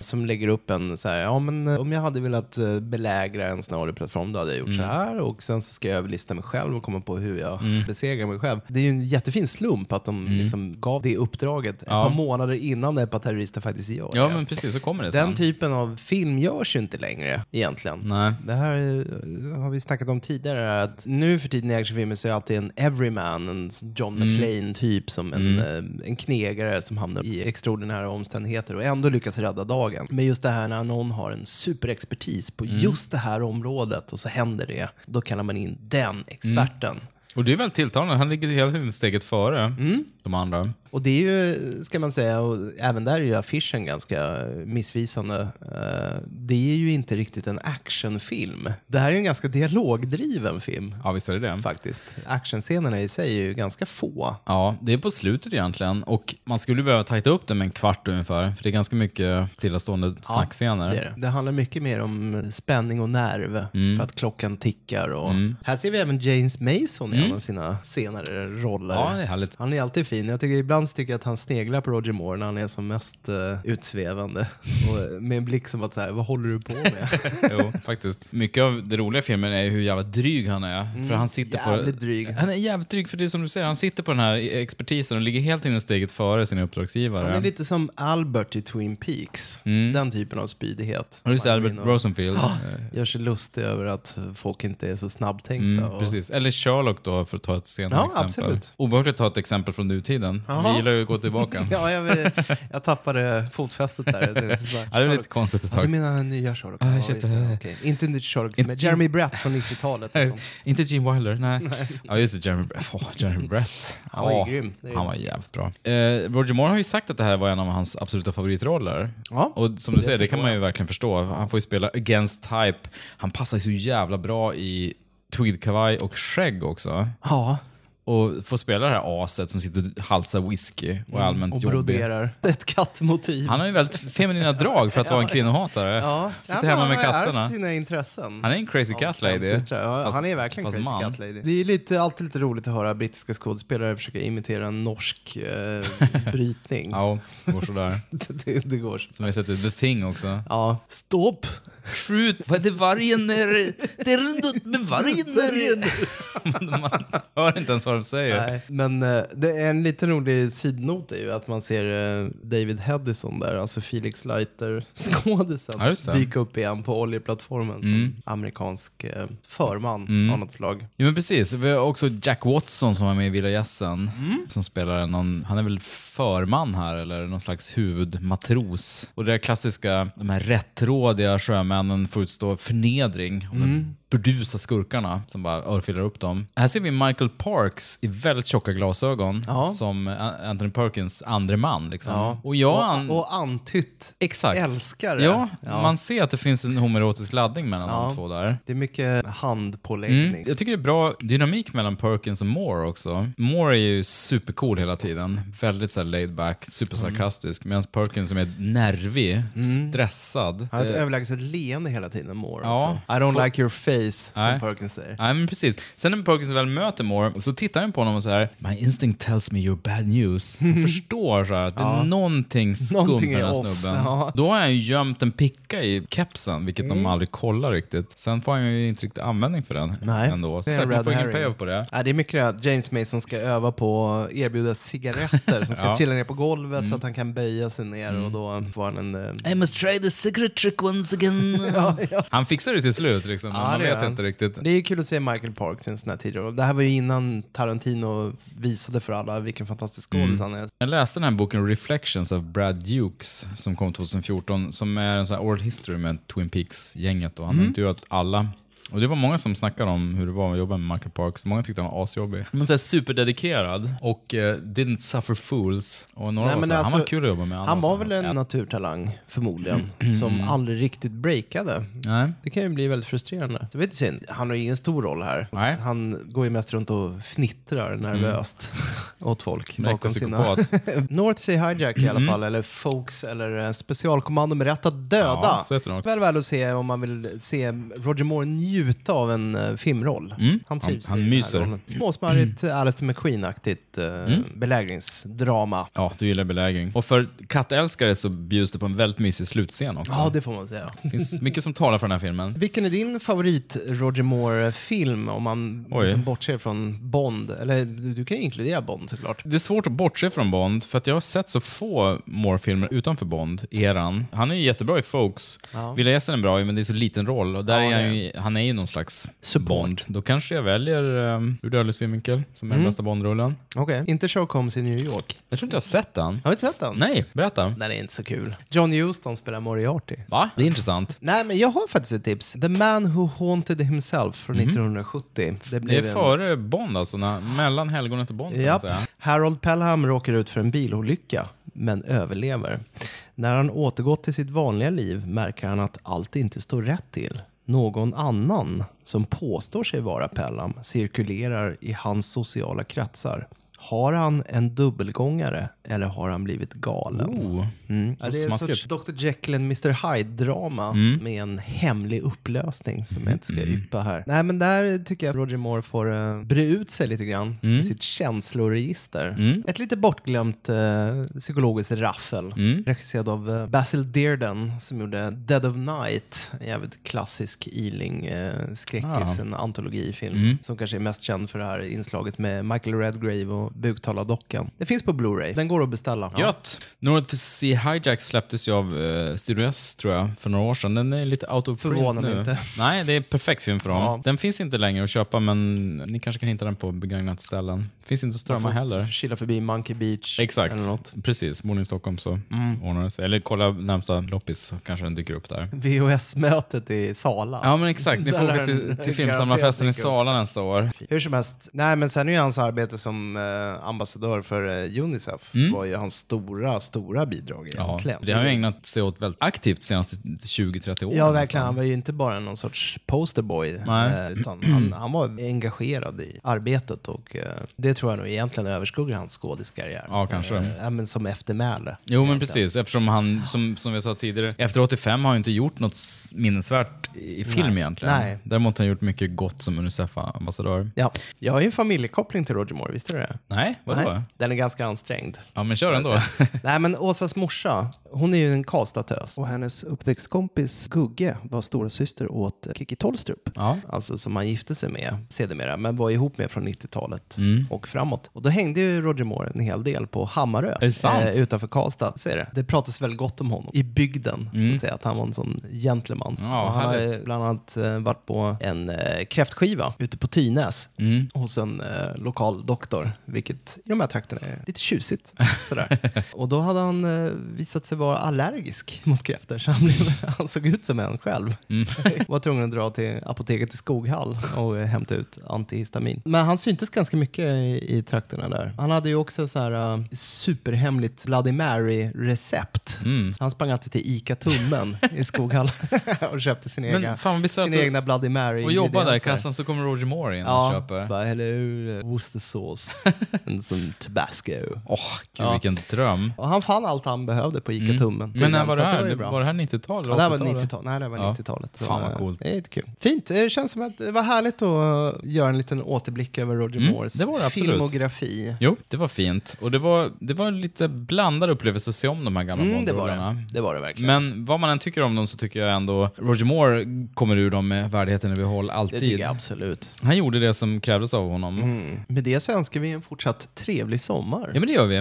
A: Som lägger upp en så här, ja men eh, om jag hade velat eh, belägra en sån här oljeplattform då hade jag gjort
B: Mm.
A: så här och sen så ska jag överlista mig själv och komma på hur jag besegrar stegar mig själv. Det är ju en jättefin slump att de
B: Mm.
A: liksom gav det uppdraget ett par månader innan det är på terrorister faktiskt gör
B: Ja,
A: det.
B: men precis. Så kommer det sen.
A: Den typen av film görs ju inte längre egentligen.
B: Nej.
A: Det här eh, har vi snackat om tidigare, att nu för tiden i actionfilmer så är alltid en everyman, en John
B: Mm.
A: McClane typ, som en, eh, en knegare som hamnar i extraordinära omständigheter och ändå lyckas rädda dagen. Men just det här när någon har en superexpertis på just det här området och så händer det, då kallar man in den experten.
B: Och det är väl tilltalande. Han ligger hela tiden steget före
A: Mm.
B: de andra.
A: Och det är ju, ska man säga, och även där är ju affischen ganska missvisande. Eh, Det är ju inte riktigt en actionfilm. Det här är en ganska dialogdriven film.
B: Ja, visst är det det.
A: Faktiskt. Actionscenerna i sig är ju ganska få.
B: Ja, det är på slutet egentligen. Och man skulle behöva tajta upp det med en kvart ungefär. För det är ganska mycket stillastående snackscener.
A: Det, är det. det handlar mycket mer om spänning och nerv
B: Mm.
A: för att klockan tickar. Och Här ser vi även James Mason i en av sina senare roller.
B: Mm. Ja, det är härligt.
A: Han är alltid fin. Jag tycker ibland så tycker jag att han sneglar på Roger Moore när han är som mest eh, utsvävande. Och, eh, med en blick som att så här, vad håller du på med?
B: jo, faktiskt. Mycket av det roliga i filmen är ju hur jävla dryg han är.
A: Mm,
B: För han sitter på...
A: jävligt dryg.
B: Han är jävligt dryg, för det är som du säger, han sitter på den här expertisen och ligger helt inne steget före sina uppdragsgivare.
A: Han är lite som Albert i Twin Peaks.
B: Mm.
A: Den typen av spydighet.
B: Ja, just det,
A: Man går
B: Albert
A: in och-
B: Rosenfield.
A: Ja, gör sig lustig över att folk inte är så snabbtänkta.
B: Mm,
A: och-
B: precis. Eller Sherlock då, för att ta ett senare
A: Ja,
B: exempel.
A: absolut.
B: Obehagligt att ta ett exempel från nutiden.
A: Jaha.
B: Vi gillar ju att gå tillbaka.
A: ja, jag, jag tappade fotfästet där. Det, så här,
B: Ja, det var lite
A: Sherlock.
B: konstigt ett
A: Ja,
B: tag.
A: du menar den nya Sherlock?
B: Ah,
A: Ja,
B: shit.
A: visst, ja, okej. Inte den Sherlock,
B: Inte
A: men
B: Jim-
A: Jeremy Bratt från 90-talet. liksom.
B: Inte Gene Wilder, nej. Ja, just det. Jeremy Brett. Åh, Jeremy Brett.
A: Han var ju
B: Ja,
A: grym. Det är-
B: Han var jävligt bra. Eh, Roger Moore har ju sagt att det här var en av hans absoluta favoritroller.
A: Ja,
B: och som du
A: det
B: säger, det
A: förstår
B: kan man ju verkligen förstå. Han får ju spela against type. Han passar ju så jävla bra i tweedkavaj och skägg också.
A: Ja,
B: Och får spela det här aset som sitter och halsar whisky och är allmänt
A: Mm. och
B: jobbig.
A: broderar. Ett kattmotiv.
B: Han har ju väldigt feminina drag för att vara en kvinnohatare.
A: Ja.
B: Sitter
A: Ja, men
B: hemma med
A: Han har
B: katterna.
A: ärvt sina intressen.
B: Han är en crazy
A: Av
B: cat
A: fem
B: lady.
A: systrar. Ja,
B: Fast-
A: han är verkligen
B: fast
A: crazy
B: man.
A: cat lady. Det är ju lite, alltid lite roligt att höra brittiska skådespelare försöka imitera en norsk eh, brytning.
B: Ja, det går sådär.
A: det, det går så.
B: Som vi har sett i The Thing också.
A: Ja. Stopp!
B: Skjut! Vad är det? Vargen är... Det är något med vargen är... Man hör inte ens vad de säger.
A: Nej, men eh, det är en liten rolig sidnot är ju att man ser eh, David Hedison där, alltså Felix Leiter, skådisen,
B: Ja, just det. Mm.
A: dyka upp igen på oljeplattformen som amerikansk eh, förman av något slag.
B: Ja, men precis. Vi har också Jack Watson som var med i Villa Gässen.
A: Mm.
B: Som spelar någon, han är väl förman här, eller någon slags huvudmatros. Och det där klassiska, de här rättrådiga sjömännen får utstå förnedring. Och
A: Mm.
B: de burdusa skurkarna som bara örfilar upp dem. Här ser vi Michael Parks i väldigt tjocka glasögon. Som A- Anthony Perkins andre man. Liksom. Och jag... an-
A: och, och antytt
B: Exakt.
A: älskare.
B: Ja,
A: Ja.
B: man ser att det finns en homoerotisk laddning mellan
A: Ja.
B: de två där.
A: Det är mycket handpåläggning.
B: Mm. Jag tycker det är bra dynamik mellan Perkins och Moore också. Moore är ju supercool hela tiden. Väldigt så här laid back, supersarkastisk. Medan Perkins som är nervig,
A: Mm.
B: stressad.
A: Han har ett
B: Eh,
A: överlägset leende hela tiden, Moore.
B: Ja.
A: Alltså. I don't like your face, som
B: Nej.
A: Perkins säger.
B: Eh, Nej, men precis. Sen när Perkins väl möter Moore så tittar han på honom och så här My instinct tells me you're bad news. Han förstår så här att det är någonting skumt
A: Någonting
B: med den här
A: är off.
B: snubben.
A: Ja. Mm.
B: Då har han ju gömt en picka i kepsen, vilket de aldrig kollar riktigt. Sen får han ju inte riktigt användning för den
A: Nej,
B: ändå.
A: det är
B: Så
A: en
B: man
A: red
B: får ingen
A: herring.
B: payoff på det.
A: Ja, det är mycket det att James Mason ska öva på att erbjuda cigaretter som ska
B: Ja. Mm.
A: trilla ner på golvet så att han kan böja sig ner och då får han en... eh,
B: I must try the cigarette trick once again. Han fixar det till slut, liksom, men
A: Ja,
B: man
A: det gör
B: vet
A: han.
B: inte riktigt.
A: Det är kul att se Michael Parks i en sån här tidigare Det här var ju innan Tarantino visade för alla vilken fantastisk
B: Mm.
A: skådis han är.
B: Jag läste den här boken Reflections av Brad Dukes som kom 2014, som är en sån här oral history med Twin Peaks-gänget. Och han har
A: Mm.
B: intervjuat alla. Och det var många som snackade om hur det var att jobba med Michael Parks. Många tyckte han var asjobbig. Men så här superdedikerad och eh, didn't suffer fools. Och några var så här, han var kul att jobba med. andra
A: alltså, Han var
B: så här,
A: väl en naturtalang, förmodligen, som
B: Mm.
A: aldrig riktigt breakade.
B: Nej.
A: Det kan ju bli väldigt frustrerande. Det var lite synd. Han har ju ingen stor roll här.
B: Nej.
A: Han går ju mest runt och fnittrar nervöst åt folk.
B: Mm. En äkta
A: bakom sina...
B: psykopat. Mm.
A: North Sea Hijack i alla fall, eller Folks, eller eh, Specialkommando med rätt att döda.
B: Ja, så heter det nog.
A: Väl väl att se om man vill se Roger Moore njuta njuta av en eh, filmroll. Han trivs i
B: Mm. Han- han
A: den här
B: myser. Mm.
A: rollen. Småsmarrigt, Alistair McQueen-aktigt eh, belägringsdrama.
B: Ja, du gillar belägring. Och för kattälskare så bjuds det på en väldigt mysig slutscen också.
A: Ja, det får man säga.
B: Det finns mycket som talar för den här filmen.
A: Vilken är din favorit Roger Moore-film om man
B: Oj.
A: liksom bortser från Bond? Eller du du kan ju inkludera Bond såklart.
B: Det är svårt att bortse från Bond, för att jag har sett så få Moore-filmer utanför Bond-eran. Han är ju jättebra i Folks.
A: Ja.
B: Vilja Gässen är bra i, men det är så liten roll. Och där är han, ju, han är ju någon slags Bond. Då kanske jag väljer um, Ur dödlig synvinkel, som är
A: Mm.
B: den bästa Bond-rullen.
A: Okej. Inte Sherlock Holmes i New York.
B: Jag tror inte jag har sett den.
A: Har du inte sett den?
B: Nej, berätta.
A: Den är inte så kul. John Huston spelar Moriarty.
B: Va? Det är intressant.
A: Nej, men jag har faktiskt ett tips. The Man Who Haunted Himself från 1970.
B: Mhm. Det är
A: blev en-
B: före Bond alltså, när, mellan helgonet och Bond kan man
A: Japp.
B: säga.
A: Harold Pelham råkar ut för en bilolycka, men överlever. När han återgått till sitt vanliga liv märker han att allt inte står rätt till. Någon annan som påstår sig vara Pelham cirkulerar i hans sociala kretsar. Har han en dubbelgångare eller har han blivit galen?
B: Oh.
A: Mm. Ja, det är en
B: Smaskigt. Mm.
A: sorts Dr Jekyll and Mr Hyde-drama med en hemlig upplösning som jag inte ska yppa här. Nej, men där tycker jag Roger Moore får uh, bre ut sig lite grann
B: Mm.
A: i sitt känsloregister. Ett lite bortglömt eh, psykologiskt raffel,
B: Mm.
A: regisserad av eh, Basil Dearden som gjorde Dead of Night, en jävligt klassisk Ealing-skräckis,
B: Ah.
A: en antologifilm
B: Mm.
A: som kanske är mest känd för det här inslaget med Michael Redgrave och buktalardockan. Det finns på Blu-ray, den går att beställa. Ja.
B: Gött! North Sea Hijack släpptes ju av eh, Studio S tror jag, för några år sedan. Den är lite out of print
A: Förvånar mig
B: nu.
A: inte.
B: Nej, det är perfekt film för dem.
A: Ja.
B: Den finns inte längre att köpa, men ni kanske kan hitta den på begagnat ställen. Finns inte att strömma
A: Man får
B: heller.
A: Chilla förbi Monkey Beach.
B: Exakt.
A: Eller något. Mm.
B: Precis. Bor ni i Stockholm så ordnar det sig. Eller kolla närmsta loppis så kanske den dyker upp där.
A: VHS-mötet i Sala.
B: Ja, men exakt. Ni
A: Där
B: får åka
A: är den
B: till, till
A: garanterat
B: filmsamlarfesten i
A: dyker upp.
B: Sala nästa år.
A: Hur som helst, nej men sen är ju hans arbete som eh, ambassadör för eh, Unicef var ju hans stora, stora bidrag
B: Mm. Ja,
A: egentligen.
B: det har ju ägnat sig åt väldigt aktivt de senaste 20-30 åren.
A: Ja,
B: nästan.
A: verkligen. Han var ju inte bara någon sorts posterboy,
B: Nej.
A: eh, utan han, han var engagerad i arbetet och eh, det tror jag nog egentligen överskuggar hans skådiskarriär.
B: Ja, kanske.
A: Eh, Ja, men som eftermäle.
B: Jo, men precis. Eftersom han, som, som jag sa tidigare, efter 85 har han ju inte gjort något s- minnesvärt i film
A: Nej.
B: egentligen.
A: Nej.
B: Däremot har han gjort mycket gott som Unicef-ambassadör.
A: Ja. Jag har ju en familjekoppling till Roger Moore, visste du det?
B: Nej, vadå?
A: Nej, den är ganska ansträngd.
B: Ja, men kör ändå.
A: Nej, men Åsas morsa, hon är ju en Karlstadtös. Och hennes uppväxtkompis Gugge var storasyster åt Kikki Tollstrup. Alltså som han gifte sig med sedermera, men var ihop med från 90-talet
B: Mm.
A: och framåt. Och då hängde ju Roger Moore en hel del på Hammarö. eh,
B: det sant?
A: utanför Karlstad. Så är det. det pratas väl gott om honom i bygden, så att säga. Att han var en sån gentleman.
B: Mm. Ja,
A: och han har
B: härligt.
A: ju bland annat eh, varit på en eh, kräftskiva ute på Tynäs
B: Mm.
A: hos en eh, lokal doktor, vilket i de här trakterna är lite tjusigt. Sådär. och då hade han eh, visat sig vara allergisk mot kräftor, så han, blev, han såg ut som en själv.
B: Mm.
A: var tvungen att dra till apoteket i Skoghall och eh, hämta ut antihistamin. Men han syntes ganska mycket i, i trakterna där. Han hade ju också så här eh, superhemligt Bloody Mary-recept.
B: Mm.
A: Så han sprang alltid till ICA Tummen i Skoghall och köpte sin,
B: Men
A: egna,
B: fan vad bisarrt
A: sin
B: att-
A: egna Bloody Mary.
B: Och jobba där i
A: ingredienser.
B: kassan så kommer Roger Moore in och
A: Ja, så
B: köper.
A: bara häller ur Worcestersauce, en sån tabasco.
B: Åh, gud
A: Ja.
B: vilken dröm.
A: Och han fann allt han behövde på ICA Tummen.
B: Mm. Men när
A: tydligen,
B: var
A: så
B: det
A: att
B: här?
A: ju
B: Det
A: bra.
B: var det här 90-talet?
A: Ja, det här var
B: 80-talet?
A: 90-talet. Nej, det här var
B: Ja.
A: 90-talet. Så,
B: Fan vad
A: eh,
B: coolt.
A: Det är lite kul. Fint. Det känns som att det var härligt att göra en liten återblick över Roger
B: Mm,
A: Moores
B: det var det absolut.
A: filmografi. Mm,
B: Jo, det var fint. Och det var, det var lite blandad upplevelse att se om de här gamla
A: Mm, det var
B: Bondrullarna.
A: det. Det var det verkligen.
B: Men vad man än tycker om dem så tycker jag ändå Roger Moore kommer ur dem med värdigheten i behåll
A: det
B: alltid.
A: tycker jag Mm. absolut.
B: Han gjorde det som krävdes av honom.
A: Med det så önskar vi en fortsatt trevlig sommar.
B: Ja, men det gör vi.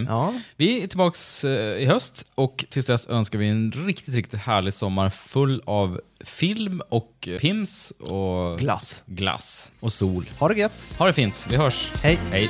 B: Vi är tillbaks eh, i höst och tills dess önskar vi en riktigt, riktigt härlig sommar full av film och eh, pims och
A: Glass.
B: glass och sol.
A: Ha det gött.
B: Ha det fint. Vi hörs.
A: Hej.
B: Hej.